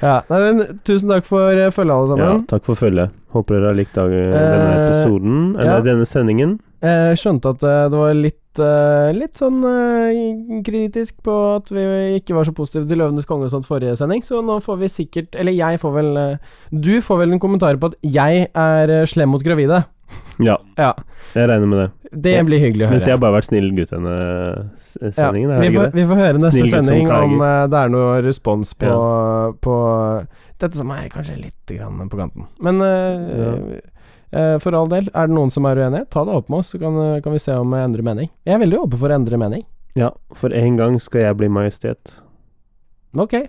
ja, nei, men, tusen takk for eh, følget, alle Ja, sammen. takk for følget. Håper dere har likt dag, denne Eh, episoden, eller ja. denne sendingen. Jeg skjønte at eh, det var litt eh, Litt sånn eh, kritisk på at vi ikke var så positive til Løvenes konge og sånt forrige sending, så nå får vi sikkert Eller jeg får vel eh, Du får vel en kommentar på at jeg er eh, slem mot gravide. Ja, Ja, jeg regner med det. det Ja, blir hyggelig å høre. Mens jeg har bare vært snill gutt denne s- eh, sendingen. er vi, det får, ikke det? vi får høre neste Snill gutt som sending om klager. eh, det er noe respons på, på dette som er kanskje litt grann på kanten. Men eh, eh, for all del, er det noen som er uenige, ta det opp med oss, så kan, eh, kan vi se om jeg endrer mening. Jeg er veldig åpen for å endre mening. Ja, for en gang skal jeg bli majestet. [LAUGHS] Ok.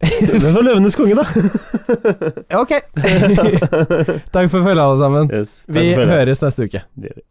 Det var Løvenes konge, [LAUGHS] da! [LAUGHS] ok. Takk for følget, alle sammen. yes, takk Vi for følget. høres neste uke. Det gjør vi.